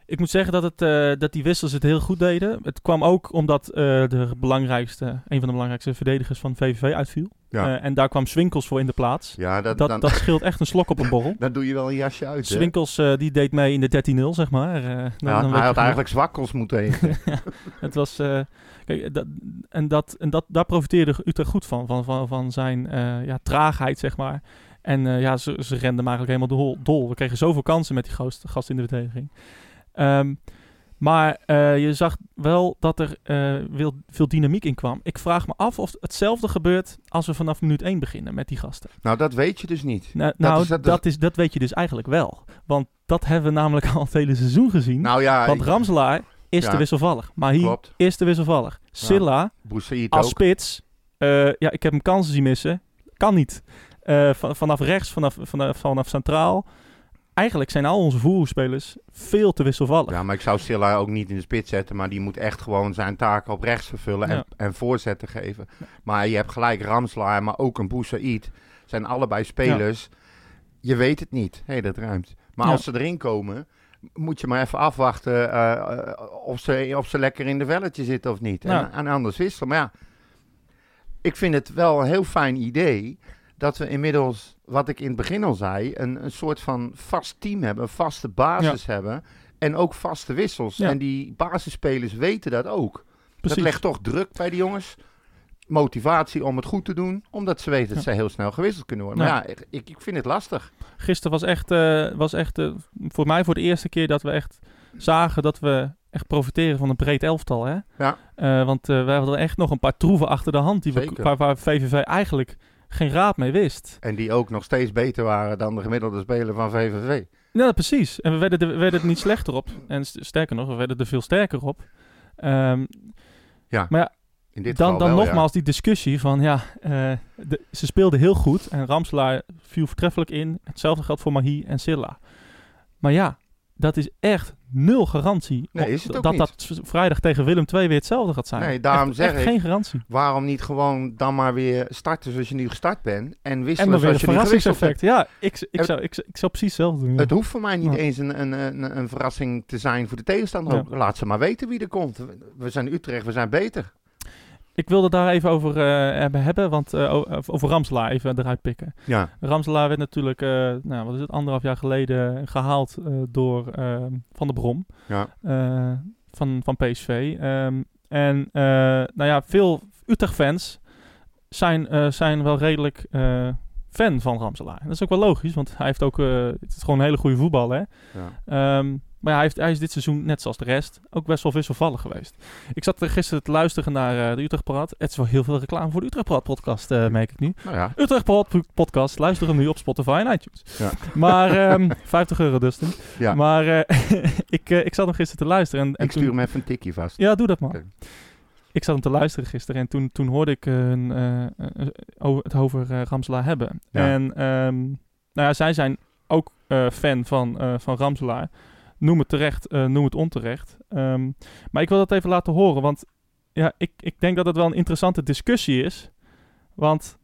[SPEAKER 2] Ik moet zeggen dat, het, eh, dat die wissels het heel goed deden. Het kwam ook omdat eh, de belangrijkste, een van de belangrijkste verdedigers van VVV uitviel.
[SPEAKER 1] Ja.
[SPEAKER 2] Eh, en daar kwam Swinkels voor in de plaats.
[SPEAKER 1] Ja,
[SPEAKER 2] Dat, dat,
[SPEAKER 1] dan,
[SPEAKER 2] scheelt echt een slok op een borrel.
[SPEAKER 1] dan doe je wel een jasje uit. hè?
[SPEAKER 2] Swinkels eh, die deed mee in de 13-0, zeg maar. Eh, dan- dan
[SPEAKER 1] Ja,
[SPEAKER 2] weet je
[SPEAKER 1] hij had
[SPEAKER 2] genoeg.
[SPEAKER 1] eigenlijk zwakkels moeten eten.
[SPEAKER 2] Het was. eh, kijk, dat, en dat, en dat, daar profiteerde Utrecht goed van. Van, van, van zijn eh, ja, traagheid, zeg maar. En eh, ja, ze, ze renden hem eigenlijk helemaal dol, dol. We kregen zoveel kansen met die gast, gast in de verdediging. Ehm, maar eh, je zag wel dat er eh, veel, veel dynamiek in kwam. Ik vraag me af of hetzelfde gebeurt als we vanaf minuut 1 beginnen met die gasten.
[SPEAKER 1] nou, dat weet je dus niet.
[SPEAKER 2] Nou, nou,
[SPEAKER 1] is- dat
[SPEAKER 2] dat,
[SPEAKER 1] is-
[SPEAKER 2] is, dat weet je dus eigenlijk wel. Want dat hebben we namelijk al het hele seizoen gezien.
[SPEAKER 1] Nou ja,
[SPEAKER 2] want Ramselaar is
[SPEAKER 1] Ja.
[SPEAKER 2] te wisselvallig. Maar hier
[SPEAKER 1] klopt.
[SPEAKER 2] is te wisselvallig. Silla
[SPEAKER 1] Boussaïd
[SPEAKER 2] als
[SPEAKER 1] ook.
[SPEAKER 2] spits. eh, ja, ik heb hem kansen zien missen. Kan niet. Eh, van- vanaf rechts, vanaf, vanaf, vanaf centraal. Eigenlijk zijn al onze voerspelers veel te wisselvallig.
[SPEAKER 1] Ja, maar ik zou Silla ook niet in de spits zetten, maar die moet echt gewoon zijn taken op rechts vervullen en,
[SPEAKER 2] Ja.
[SPEAKER 1] en voorzetten geven. Maar je hebt gelijk Ramslaar, maar ook een Boussaïd. Zijn allebei spelers. Je weet het niet. Hé, dat ruimt. Maar
[SPEAKER 2] Ja.
[SPEAKER 1] als ze erin komen, moet je maar even afwachten eh, eh, of, ze, of ze lekker in de velletje zitten of niet.
[SPEAKER 2] Ja.
[SPEAKER 1] En, en anders wisselen. Maar ja, ik vind het wel een heel fijn idee dat we inmiddels, wat ik in het begin al zei, een, een soort van vast team hebben, een vaste basis hebben. En ook vaste wissels.
[SPEAKER 2] Ja.
[SPEAKER 1] En die basisspelers weten dat ook.
[SPEAKER 2] Precies.
[SPEAKER 1] Dat legt toch druk bij de jongens. motivatie om het goed te doen. Omdat ze weten dat ze heel snel gewisseld kunnen worden.
[SPEAKER 2] Ja.
[SPEAKER 1] Maar ja, ik, ik vind het lastig.
[SPEAKER 2] Gisteren was echt, eh, was echt eh, voor mij voor de eerste keer dat we echt zagen dat we echt profiteren van een breed elftal. Hè?
[SPEAKER 1] Ja.
[SPEAKER 2] Eh, want eh, we hadden echt nog een paar troeven achter de hand die we,
[SPEAKER 1] Zeker.
[SPEAKER 2] waar, waar VVV eigenlijk geen raad mee wist.
[SPEAKER 1] En die ook nog steeds beter waren dan de gemiddelde speler van VVV.
[SPEAKER 2] Ja, precies. En we werden er, we werden er niet slechter op. En st- sterker nog, we werden er veel sterker op. Ehm,
[SPEAKER 1] In dit
[SPEAKER 2] dan
[SPEAKER 1] geval
[SPEAKER 2] dan
[SPEAKER 1] wel, ja.
[SPEAKER 2] nogmaals die discussie van ja, eh, de- ze speelden heel goed en Ramslaar viel voortreffelijk in. Hetzelfde geldt voor Mahi en Silla. Maar ja, dat is echt nul garantie
[SPEAKER 1] Nee,
[SPEAKER 2] op-
[SPEAKER 1] is het ook
[SPEAKER 2] dat
[SPEAKER 1] niet.
[SPEAKER 2] dat v- vrijdag tegen Willem II weer hetzelfde gaat zijn.
[SPEAKER 1] Nee, daarom
[SPEAKER 2] echt,
[SPEAKER 1] zeg
[SPEAKER 2] echt
[SPEAKER 1] ik-
[SPEAKER 2] geen garantie.
[SPEAKER 1] Waarom niet gewoon dan maar weer starten zoals je nu gestart bent en
[SPEAKER 2] En
[SPEAKER 1] wisselen
[SPEAKER 2] dan weer een
[SPEAKER 1] zoals je nu gewisseld hebt?
[SPEAKER 2] verrassingseffect. Ja, ik, ik,
[SPEAKER 1] Het-
[SPEAKER 2] zou, ik, ik zou precies hetzelfde doen. ja.
[SPEAKER 1] Het hoeft voor mij niet
[SPEAKER 2] Ja.
[SPEAKER 1] eens een, een, een, een verrassing te zijn voor de tegenstander.
[SPEAKER 2] Ja.
[SPEAKER 1] ook. Laat ze maar weten wie er komt. We- We zijn Utrecht, we zijn beter.
[SPEAKER 2] Ik wilde daar even over eh, hebben- hebben, want eh, o- over Ramslaar even eruit pikken.
[SPEAKER 1] Ja,
[SPEAKER 2] Ramselaar werd natuurlijk, eh, nou, wat is het, anderhalf jaar geleden gehaald eh, door eh, Van der Brom
[SPEAKER 1] Ja.
[SPEAKER 2] Eh, van, van PSV. Ehm, en eh, nou ja, veel Utrecht-fans zijn, eh, zijn wel redelijk eh, fan van Ramselaar. En Dat is ook wel logisch, want hij heeft ook, eh, het is gewoon een hele goede voetballer. hè.
[SPEAKER 1] ja.
[SPEAKER 2] Ehm, maar ja, hij, heeft, hij is dit seizoen, net zoals de rest, ook best wel wisselvallig geweest. Ik zat eh, gisteren te luisteren naar eh, de Utrecht Parat. Het is wel heel veel reclame voor de Utrecht Parat podcast, eh, merk ik nu.
[SPEAKER 1] nou ja.
[SPEAKER 2] Utrecht Pod- Podcast. Luister hem nu op Spotify en iTunes.
[SPEAKER 1] Ja.
[SPEAKER 2] Maar ehm, 50 euro dus. dan.
[SPEAKER 1] Ja.
[SPEAKER 2] Maar eh, ik, eh, ik zat hem gisteren te luisteren. En, en
[SPEAKER 1] Ik
[SPEAKER 2] toen-
[SPEAKER 1] stuur hem even een tikje vast.
[SPEAKER 2] Ja, doe dat man.
[SPEAKER 1] Oké.
[SPEAKER 2] Ik zat hem te luisteren gisteren en toen, toen hoorde ik eh, een, eh, eh, over- het over eh, Ramselaar hebben.
[SPEAKER 1] Ja.
[SPEAKER 2] En ehm, nou ja, zij zijn ook eh, fan van, eh, van Ramselaar. Noem het terecht, eh, noem het onterecht. Ehm, maar ik wil dat even laten horen, want ja, ik, ik denk dat het wel een interessante discussie is. Want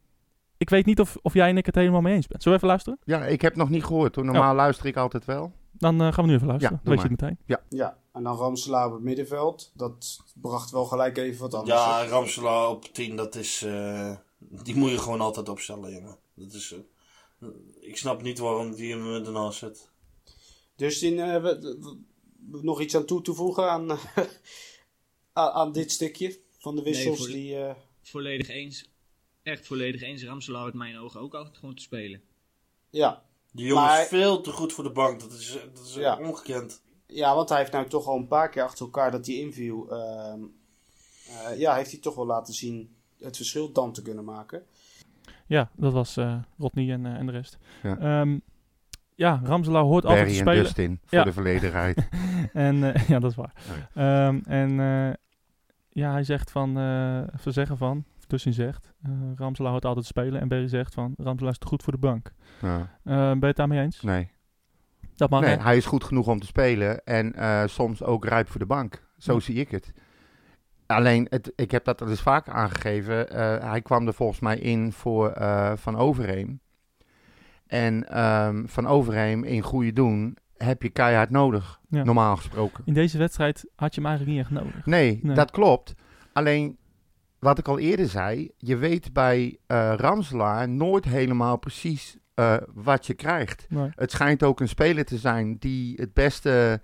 [SPEAKER 2] ik weet niet of, of jij en ik het helemaal mee eens bent. Zullen we even luisteren?
[SPEAKER 1] Ja, ik heb nog niet gehoord. Hoor. Normaal luister ik altijd wel.
[SPEAKER 2] Dan eh, gaan we nu even luisteren.
[SPEAKER 1] Ja, doe
[SPEAKER 2] weet je het meteen?
[SPEAKER 5] Ja, en dan Ramselaar op het middenveld. Dat bracht wel gelijk even wat anders. op.
[SPEAKER 6] Ja, Ramselaar op 10, dat is. eh, die moet je gewoon altijd opstellen, jongen. Dat is. eh, ik snap niet waarom die hem ernaast zet.
[SPEAKER 5] Dus in, eh, we- we- we- nog iets aan toe te voegen aan, aan, aan dit stukje van de wissels.
[SPEAKER 7] voor-
[SPEAKER 5] die, eh,
[SPEAKER 7] volledig eens. Echt volledig eens. Ramselaar uit mijn ogen ook altijd gewoon te spelen.
[SPEAKER 5] ja.
[SPEAKER 6] Die jongen
[SPEAKER 5] Maar-
[SPEAKER 6] is veel te goed voor de bank. Dat is, eh, dat is eh,
[SPEAKER 5] Ja.
[SPEAKER 6] ongekend.
[SPEAKER 5] ja, want hij heeft nou toch al een paar keer achter elkaar dat hij inviel. ehm, eh, ja, heeft hij toch wel laten zien het verschil dan te kunnen maken.
[SPEAKER 2] Ja, dat was eh, Rodney en, eh, en de rest.
[SPEAKER 1] Ja.
[SPEAKER 2] Ja, ja Ramselaar hoort altijd te
[SPEAKER 1] Barry en
[SPEAKER 2] spelen.
[SPEAKER 1] Dustin, voor
[SPEAKER 2] Ja.
[SPEAKER 1] de volledigheid.
[SPEAKER 2] En eh, ja, dat is waar.
[SPEAKER 1] Oh,
[SPEAKER 2] Ehm, en eh, ja, hij zegt van, eh ze zeggen van, of Tussin zegt, eh Ramselaar houdt altijd te spelen. En Berry zegt van, Ramselaar is te goed voor de bank.
[SPEAKER 1] Ja.
[SPEAKER 2] Eh, ben je het daarmee eens?
[SPEAKER 1] Nee.
[SPEAKER 2] Dat mag
[SPEAKER 1] nee,
[SPEAKER 2] hè?
[SPEAKER 1] hij is goed genoeg om te spelen en eh, soms ook rijp voor de bank. Zo zie ik het. Alleen, het, ik heb dat al eens vaak aangegeven. eh, hij kwam er volgens mij in voor eh, Van Overheem. En ehm, Van Overheem in goede doen heb je keihard nodig,
[SPEAKER 2] Ja.
[SPEAKER 1] normaal gesproken.
[SPEAKER 2] In deze wedstrijd had je hem eigenlijk niet echt nodig.
[SPEAKER 1] Nee,
[SPEAKER 2] Nee.
[SPEAKER 1] dat klopt. Alleen, wat ik al eerder zei, je weet bij eh, Ramselaar nooit helemaal precies eh, wat je krijgt.
[SPEAKER 2] Nee.
[SPEAKER 1] Het schijnt ook een speler te zijn die het beste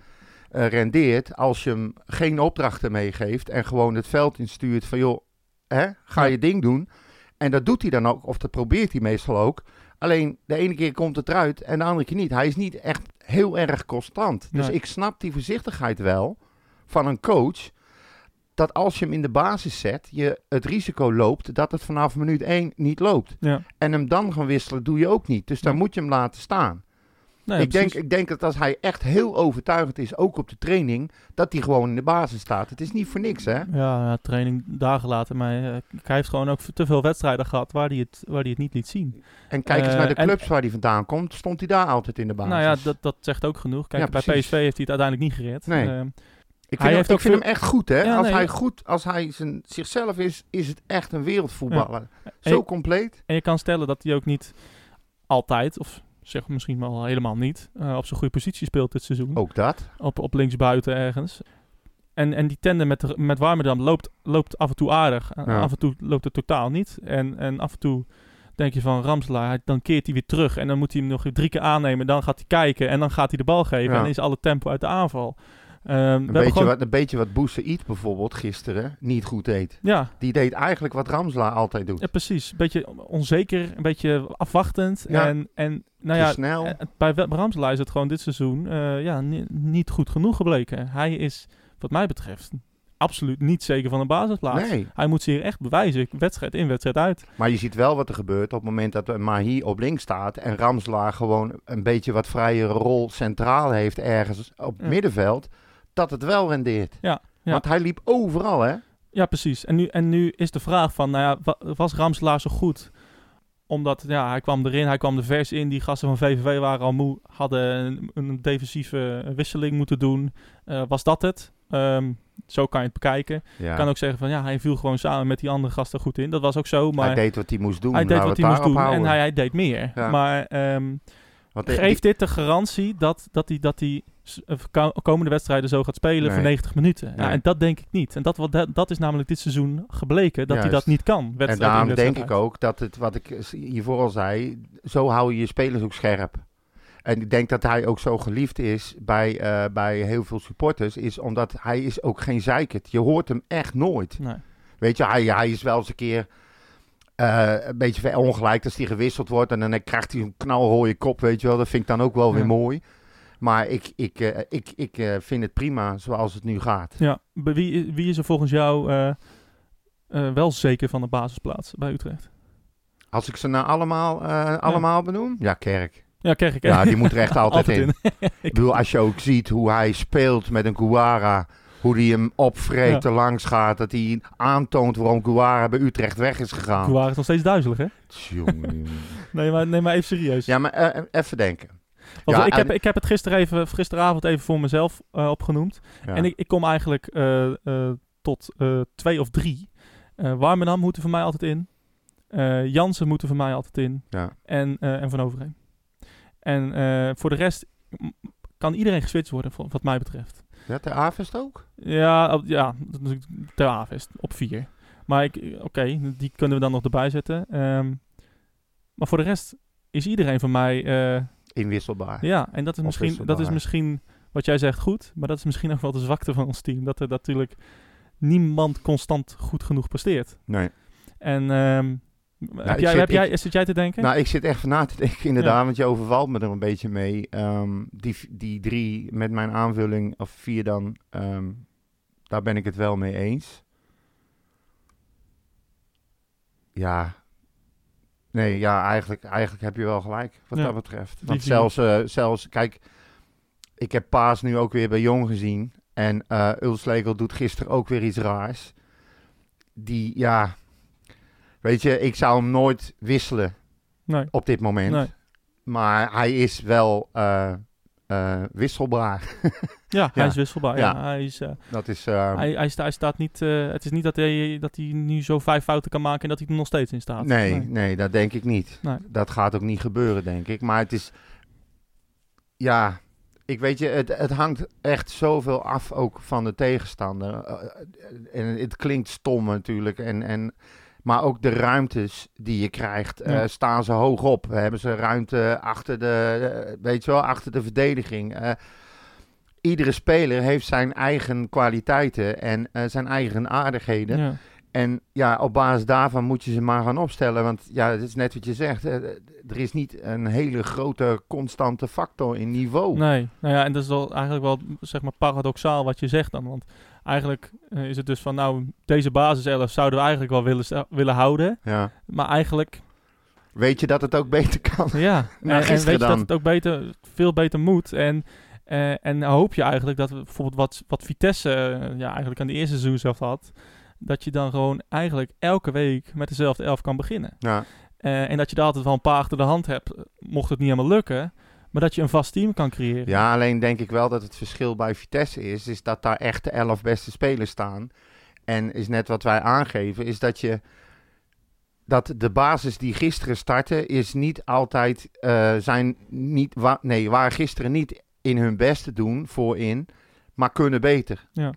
[SPEAKER 1] eh, rendeert als je hem geen opdrachten meegeeft en gewoon het veld instuurt van joh, hè, ga je ding doen. En dat doet hij dan ook, of dat probeert hij meestal ook. Alleen de ene keer komt het eruit en de andere keer niet. Hij is niet echt heel erg constant. Dus
[SPEAKER 2] Nee.
[SPEAKER 1] ik snap die voorzichtigheid wel van een coach. Dat als je hem in de basis zet, je het risico loopt dat het vanaf minuut 1 niet loopt.
[SPEAKER 2] Ja.
[SPEAKER 1] En hem dan gaan wisselen doe je ook niet. Dus dan
[SPEAKER 2] Ja.
[SPEAKER 1] moet je hem laten staan
[SPEAKER 2] Nee,
[SPEAKER 1] ik, denk,
[SPEAKER 2] precies.
[SPEAKER 1] ik denk dat als hij echt heel overtuigend is, ook op de training, dat hij gewoon in de basis staat. Het is niet voor niks, hè?
[SPEAKER 2] Ja, ja, training dagen later. Maar eh, hij heeft gewoon ook te veel wedstrijden gehad waar hij het, waar hij het niet liet zien.
[SPEAKER 1] En kijk eens
[SPEAKER 2] Eh,
[SPEAKER 1] naar de
[SPEAKER 2] en-
[SPEAKER 1] clubs waar hij vandaan komt, stond hij daar altijd in de basis.
[SPEAKER 2] Nou ja, dat, dat zegt ook genoeg. Kijk,
[SPEAKER 1] Ja,
[SPEAKER 2] bij
[SPEAKER 1] precies.
[SPEAKER 2] PSV heeft hij het uiteindelijk niet gered.
[SPEAKER 1] Nee.
[SPEAKER 2] Ehm,
[SPEAKER 1] ik vind,
[SPEAKER 2] hij
[SPEAKER 1] hem,
[SPEAKER 2] heeft
[SPEAKER 1] ik
[SPEAKER 2] ook
[SPEAKER 1] vind
[SPEAKER 2] veel-
[SPEAKER 1] hem echt goed, hè?
[SPEAKER 2] Ja,
[SPEAKER 1] als
[SPEAKER 2] nee.
[SPEAKER 1] hij goed, als hij zijn, zichzelf is, is het echt een wereldvoetballer. Zo
[SPEAKER 2] En-
[SPEAKER 1] compleet.
[SPEAKER 2] En je kan stellen dat hij ook niet altijd, of zeg misschien wel helemaal niet, eh, op zijn goede positie speelt dit seizoen.
[SPEAKER 1] Ook dat.
[SPEAKER 2] Op, op linksbuiten ergens. En, en die tandem met, met Warmerdam loopt, loopt af en toe aardig. En
[SPEAKER 1] Ja.
[SPEAKER 2] Af en toe loopt het totaal niet. En, en af en toe denk je van Ramselaar, hij- dan keert hij weer terug. En dan moet hij hem nog drie keer aannemen. Dan gaat hij kijken en dan gaat hij de bal geven.
[SPEAKER 1] Ja.
[SPEAKER 2] En dan is alle tempo uit de aanval. Ehm, we
[SPEAKER 1] Een,
[SPEAKER 2] hebben
[SPEAKER 1] beetje,
[SPEAKER 2] gewoon-
[SPEAKER 1] wat, een beetje wat Boese Eat bijvoorbeeld gisteren niet goed deed.
[SPEAKER 2] Ja,
[SPEAKER 1] Die deed eigenlijk wat Ramsla altijd doet.
[SPEAKER 2] Ja, precies. Een beetje onzeker, een beetje afwachtend.
[SPEAKER 1] Ja.
[SPEAKER 2] En, en nou
[SPEAKER 1] Te
[SPEAKER 2] ja,
[SPEAKER 1] snel.
[SPEAKER 2] eh, bij Web- Ramselaar is het gewoon dit seizoen eh, ja, ni- niet goed genoeg gebleken. Hij is, wat mij betreft, absoluut niet zeker van een basisplaats.
[SPEAKER 1] Nee,
[SPEAKER 2] Hij moet zich echt bewijzen, wedstrijd in, wedstrijd uit.
[SPEAKER 1] maar je ziet wel wat er gebeurt op het moment dat eh, Mahi op links staat en Ramsla gewoon een beetje wat vrijere rol centraal heeft ergens op het
[SPEAKER 2] Ja.
[SPEAKER 1] middenveld, dat het wel rendeert.
[SPEAKER 2] Ja, ja.
[SPEAKER 1] Want hij liep overal, hè?
[SPEAKER 2] Ja, precies. En nu, en nu is de vraag van, nou ja, wa- was Ramselaar zo goed? Omdat, ja, hij kwam erin, hij kwam er vers in. Die gasten van VVV waren al moe, hadden een, een defensieve wisseling moeten doen. Eh, was dat het? Ehm, zo kan je het bekijken.
[SPEAKER 1] Ja.
[SPEAKER 2] Ik kan ook zeggen van ja, hij viel gewoon samen met die andere gasten goed in. Dat was ook zo, maar
[SPEAKER 1] hij deed wat hij moest doen.
[SPEAKER 2] hij deed
[SPEAKER 1] laten
[SPEAKER 2] wat
[SPEAKER 1] we
[SPEAKER 2] hij
[SPEAKER 1] het
[SPEAKER 2] moest doen
[SPEAKER 1] daarop
[SPEAKER 2] en hij,
[SPEAKER 1] houden.
[SPEAKER 2] hij deed meer.
[SPEAKER 1] Ja.
[SPEAKER 2] Maar ehm,
[SPEAKER 1] Want die-
[SPEAKER 2] geeft dit de garantie dat, dat hij dat die s- eh, ko- komende wedstrijden zo gaat spelen voor
[SPEAKER 1] Nee.
[SPEAKER 2] 90 minuten? Ja,
[SPEAKER 1] Nee.
[SPEAKER 2] en dat denk ik niet. En dat, wat- dat, dat is namelijk dit seizoen gebleken dat hij
[SPEAKER 1] Juist.
[SPEAKER 2] dat niet kan. wedstrijd
[SPEAKER 1] En
[SPEAKER 2] in,
[SPEAKER 1] daarom
[SPEAKER 2] wedstrijd
[SPEAKER 1] denk ik
[SPEAKER 2] uit.
[SPEAKER 1] ook dat het, wat ik s- hiervoor al zei, zo hou je je spelers ook scherp. En ik denk dat hij ook zo geliefd is bij, eh, bij heel veel supporters, is omdat hij is ook geen zeikert. Je hoort hem echt nooit.
[SPEAKER 2] Nee.
[SPEAKER 1] Weet je, hij, hij is wel eens een keer eh, een beetje verongelijk als hij gewisseld wordt. En dan krijgt hij een knalrooie kop, weet je wel. Dat vind ik dan ook wel weer
[SPEAKER 2] Ja.
[SPEAKER 1] mooi. Maar ik, ik, eh, ik, ik eh, vind het prima zoals het nu gaat.
[SPEAKER 2] Ja, Bij wie, wie is er volgens jou eh, eh, wel zeker van de basisplaats bij Utrecht?
[SPEAKER 1] Als ik ze nou allemaal, eh, allemaal benoem? Ja, Kerk.
[SPEAKER 2] Ja, krijg ik.
[SPEAKER 1] Ja, die moet er echt altijd, in.
[SPEAKER 2] Ik-
[SPEAKER 1] Ik bedoel, als je ook ziet hoe hij speelt met een Guara. Hoe die hem opvreet,
[SPEAKER 2] Ja.
[SPEAKER 1] er langs gaat. Dat hij aantoont waarom Guara bij Utrecht weg is gegaan.
[SPEAKER 2] Waar het nog steeds duizelig, hè?
[SPEAKER 1] Tjonge.
[SPEAKER 2] Nee, maar, nee, maar even serieus.
[SPEAKER 1] ja, maar eh, even denken.
[SPEAKER 2] Want
[SPEAKER 1] Ja,
[SPEAKER 2] ik, heb,
[SPEAKER 1] en-
[SPEAKER 2] ik heb het gister even, gisteravond even voor mezelf eh, opgenoemd.
[SPEAKER 1] Ja.
[SPEAKER 2] En ik, ik kom eigenlijk eh, eh, tot eh, twee of drie. Eh Warmenam moet er voor mij altijd in. Eh, Jansen moet er voor mij altijd in.
[SPEAKER 1] Ja.
[SPEAKER 2] En, eh, en Van Overheen. En eh, voor de rest mm, kan iedereen geswitcht worden, voor- wat mij betreft.
[SPEAKER 1] Ja, Ter Avest ook?
[SPEAKER 2] Ja, op- ja ter Avest op vier. Maar ik- eh, oké, die kunnen we dan nog erbij zetten. Ehm, maar voor de rest is iedereen voor mij... eh,
[SPEAKER 1] Inwisselbaar.
[SPEAKER 2] ja, en dat is,
[SPEAKER 1] Of
[SPEAKER 2] misschien,
[SPEAKER 1] is het
[SPEAKER 2] dat is
[SPEAKER 1] waar?
[SPEAKER 2] misschien wat jij zegt goed, maar dat is misschien ook wel de zwakte van ons team. Dat er natuurlijk niemand constant goed genoeg presteert.
[SPEAKER 1] Nee.
[SPEAKER 2] En ehm, heb
[SPEAKER 1] Nou, ik
[SPEAKER 2] jij,
[SPEAKER 1] zit-
[SPEAKER 2] heb jij,
[SPEAKER 1] ik-
[SPEAKER 2] zit jij te denken?
[SPEAKER 1] Nou, ik zit echt van na te denken, inderdaad, want je overvalt me er een beetje mee. Ehm, die, v- die drie met mijn aanvulling, of vier dan, ehm, daar ben ik het wel mee eens. Ja. Nee, ja, eigenlijk, eigenlijk heb je wel gelijk, wat
[SPEAKER 2] Ja,
[SPEAKER 1] dat betreft.
[SPEAKER 2] die
[SPEAKER 1] Want
[SPEAKER 2] vier.
[SPEAKER 1] zelfs, eh, zelfs, kijk, ik heb Paas nu ook weer bij Jong gezien. En eh Ulslegel doet gisteren ook weer iets raars. Die, ja, weet je, ik zou hem nooit wisselen
[SPEAKER 2] nee.
[SPEAKER 1] op dit moment.
[SPEAKER 2] Nee.
[SPEAKER 1] Maar hij is wel eh, eh, wisselbaar.
[SPEAKER 2] Ja, hij
[SPEAKER 1] Ja.
[SPEAKER 2] is wisselbaar. Ja.
[SPEAKER 1] Ja.
[SPEAKER 2] Hij, is, eh,
[SPEAKER 1] Dat is, eh,
[SPEAKER 2] hij, hij, sta- hij staat niet. eh, het is niet dat hij, dat hij nu zo vijf fouten kan maken en dat hij er nog steeds in staat.
[SPEAKER 1] nee, nee. dat denk ik niet.
[SPEAKER 2] Nee.
[SPEAKER 1] Dat gaat ook niet gebeuren, denk ik. Maar het is, ja, ik weet je, het, het hangt echt zoveel af ook van de tegenstander. Eh, en het klinkt stom natuurlijk. En, en, maar ook de ruimtes die je krijgt, eh,
[SPEAKER 2] Ja.
[SPEAKER 1] staan ze hoog op. Hebben ze ruimte achter de, eh, weet je wel, achter de verdediging. Eh, iedere speler heeft zijn eigen kwaliteiten en eh, zijn eigen aardigheden.
[SPEAKER 2] Ja.
[SPEAKER 1] En ja, op basis daarvan moet je ze maar gaan opstellen. Want ja, het is net wat je zegt. eh, Er is niet een hele grote constante factor in niveau.
[SPEAKER 2] Nee, nou ja, en dat is wel eigenlijk wel zeg maar paradoxaal wat je zegt dan. Want eigenlijk eh, is het dus van, nou, deze basiself zouden we eigenlijk wel willen, sta- willen houden.
[SPEAKER 1] Ja.
[SPEAKER 2] Maar eigenlijk
[SPEAKER 1] Weet je dat het ook beter kan?
[SPEAKER 2] Ja, en, en weet
[SPEAKER 1] gisteren
[SPEAKER 2] je dat
[SPEAKER 1] dan.
[SPEAKER 2] het ook beter, veel beter moet. En, eh, en hoop je eigenlijk dat we bijvoorbeeld wat, wat Vitesse eh, ja, eigenlijk aan de eerste seizoen zelf had. Dat je dan gewoon eigenlijk elke week met dezelfde elf kan beginnen.
[SPEAKER 1] Ja,
[SPEAKER 2] Eh, en dat je daar altijd wel een paar achter de hand hebt, eh, mocht het niet helemaal lukken. Maar dat je een vast team kan creëren.
[SPEAKER 1] ja, alleen denk ik wel dat het verschil bij Vitesse is. Is dat daar echt de elf beste spelers staan. En is net wat wij aangeven. Is dat je... Dat de basis die gisteren startte, is niet altijd eh, zijn niet wa- nee, waren gisteren niet in hun best te doen voorin, maar kunnen beter.
[SPEAKER 2] Ja.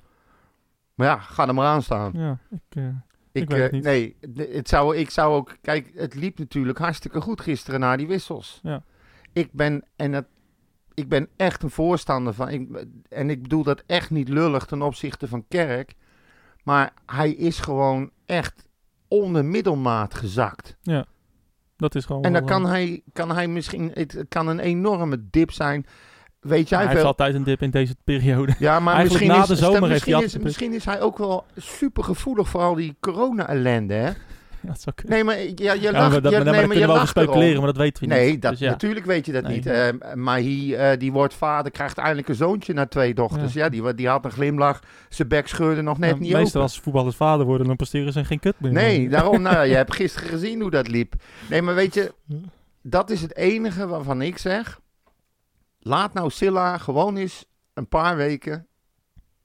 [SPEAKER 1] Maar ja, ga er maar aan staan.
[SPEAKER 2] Ja, ik, eh,
[SPEAKER 1] Ik,
[SPEAKER 2] Ik weet het
[SPEAKER 1] eh,
[SPEAKER 2] niet.
[SPEAKER 1] Nee, d- het zou, ik zou ook... Kijk, het liep natuurlijk hartstikke goed gisteren na die wissels.
[SPEAKER 2] Ja.
[SPEAKER 1] Ik ben... En dat ik ben echt een voorstander van. Ik, en ik bedoel dat echt niet lullig ten opzichte van Kerk. Maar hij is gewoon echt onder middelmaat gezakt.
[SPEAKER 2] Dat is gewoon.
[SPEAKER 1] En
[SPEAKER 2] wel,
[SPEAKER 1] dan
[SPEAKER 2] eh,
[SPEAKER 1] kan hij, kan hij misschien. Het kan een enorme dip zijn. Weet jij
[SPEAKER 2] hij heeft
[SPEAKER 1] wel.
[SPEAKER 2] altijd een dip in deze periode.
[SPEAKER 1] Ja, maar
[SPEAKER 2] Eigenlijk
[SPEAKER 1] misschien,
[SPEAKER 2] na
[SPEAKER 1] is,
[SPEAKER 2] de zomer
[SPEAKER 1] stem-
[SPEAKER 2] heeft
[SPEAKER 1] misschien,
[SPEAKER 2] hij
[SPEAKER 1] is,
[SPEAKER 2] altijd-
[SPEAKER 1] misschien is hij ook wel super gevoelig voor al die corona-ellende. hè?
[SPEAKER 2] Ja, dat zou kunnen.
[SPEAKER 1] Nee, maar ik- ja, je
[SPEAKER 2] Ja, maar
[SPEAKER 1] lacht.
[SPEAKER 2] dat,
[SPEAKER 1] je-
[SPEAKER 2] maar daar
[SPEAKER 1] nee, maar
[SPEAKER 2] kunnen
[SPEAKER 1] je
[SPEAKER 2] we over
[SPEAKER 1] lacht erom.
[SPEAKER 2] speculeren, maar dat weten we niet.
[SPEAKER 1] Nee, dat,
[SPEAKER 2] Dus ja.
[SPEAKER 1] natuurlijk weet je dat
[SPEAKER 2] Nee.
[SPEAKER 1] niet. Eh maar hij, eh, die wordt vader, krijgt eindelijk een zoontje na twee dochters. Ja, die, wa- die had een glimlach. Zijn bek scheurde nog net
[SPEAKER 2] Ja,
[SPEAKER 1] niet
[SPEAKER 2] meestal
[SPEAKER 1] open.
[SPEAKER 2] als voetballers vader worden, dan presteren ze geen kut meer.
[SPEAKER 1] Nee, daarom, nou, ja, je hebt gisteren gezien hoe dat liep. Nee, maar weet je,
[SPEAKER 2] Ja.
[SPEAKER 1] dat is het enige waarvan ik zeg. Laat nou Silla gewoon eens een paar weken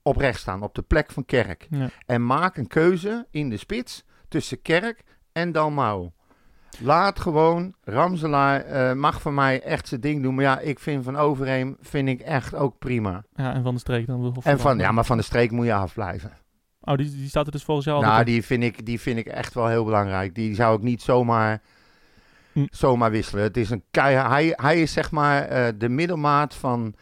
[SPEAKER 1] oprecht staan, op de plek van Kerk.
[SPEAKER 2] Ja.
[SPEAKER 1] En maak een keuze in de spits tussen Kerk en Dalmau. Laat gewoon, Ramselaar eh, mag voor mij echt zijn ding doen. Maar ja, ik vind van Overheem vind ik echt ook prima.
[SPEAKER 2] Ja, en van de streek dan. of-
[SPEAKER 1] En van, ja, maar van de streek moet je afblijven.
[SPEAKER 2] Oh, die, die staat er dus volgens jou altijd
[SPEAKER 1] Nou,
[SPEAKER 2] op.
[SPEAKER 1] die vind, ik, die vind ik echt wel heel belangrijk. Die zou ik niet zomaar,
[SPEAKER 2] Hm.
[SPEAKER 1] zomaar wisselen. Het is een keihard. Hij, hij is zeg maar eh, de middelmaat van,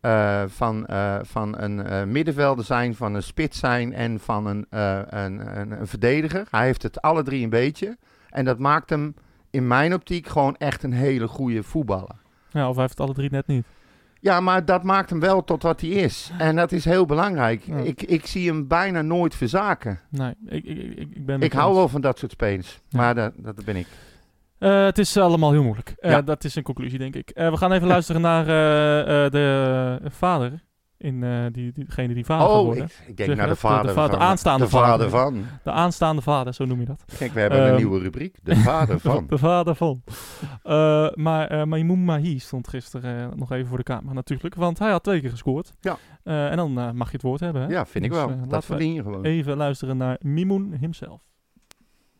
[SPEAKER 1] eh, van, eh, van een eh, middenvelder zijn, van een spits zijn en van een, eh, een, een, een verdediger. Hij heeft het alle drie een beetje. En dat maakt hem in mijn optiek gewoon echt een hele goede voetballer.
[SPEAKER 2] Ja, of hij heeft het alle drie net niet.
[SPEAKER 1] Ja, maar dat maakt hem wel tot wat hij is. En dat is heel belangrijk.
[SPEAKER 2] Ja.
[SPEAKER 1] Ik, ik zie hem bijna nooit verzaken.
[SPEAKER 2] Nee, ik, ik, ik, ik ben... met
[SPEAKER 1] Ik
[SPEAKER 2] je
[SPEAKER 1] hou
[SPEAKER 2] eens.
[SPEAKER 1] wel van dat soort spelers,
[SPEAKER 2] Ja.
[SPEAKER 1] maar dat, dat ben ik.
[SPEAKER 2] Eh, het is allemaal heel moeilijk. Eh,
[SPEAKER 1] Ja.
[SPEAKER 2] Dat is een conclusie, denk ik. Eh, we gaan even luisteren naar eh, eh, de eh, vader. In, eh, die, die- degene die vader gaat
[SPEAKER 1] Oh,
[SPEAKER 2] worden.
[SPEAKER 1] ik, ik
[SPEAKER 2] Zeg
[SPEAKER 1] denk naar
[SPEAKER 2] je
[SPEAKER 1] de
[SPEAKER 2] dat?
[SPEAKER 1] vader,
[SPEAKER 2] De vader-
[SPEAKER 1] van.
[SPEAKER 2] aanstaande
[SPEAKER 1] de vader
[SPEAKER 2] vader.
[SPEAKER 1] van.
[SPEAKER 2] De aanstaande vader, zo noem je dat.
[SPEAKER 1] Kijk, we hebben
[SPEAKER 2] Ehm,
[SPEAKER 1] een nieuwe rubriek. De vader van.
[SPEAKER 2] De vader van. Eh, maar eh Maimoun Mahi stond gisteren eh, nog even voor de camera natuurlijk. Want hij had twee keer gescoord.
[SPEAKER 1] Ja.
[SPEAKER 2] Eh, en dan eh, mag je het woord hebben. Hè?
[SPEAKER 1] Ja, vind ik
[SPEAKER 2] Dus, eh,
[SPEAKER 1] wel.
[SPEAKER 2] laten
[SPEAKER 1] dat
[SPEAKER 2] we
[SPEAKER 1] verdien je gewoon.
[SPEAKER 2] Even luisteren naar Mimoun himself.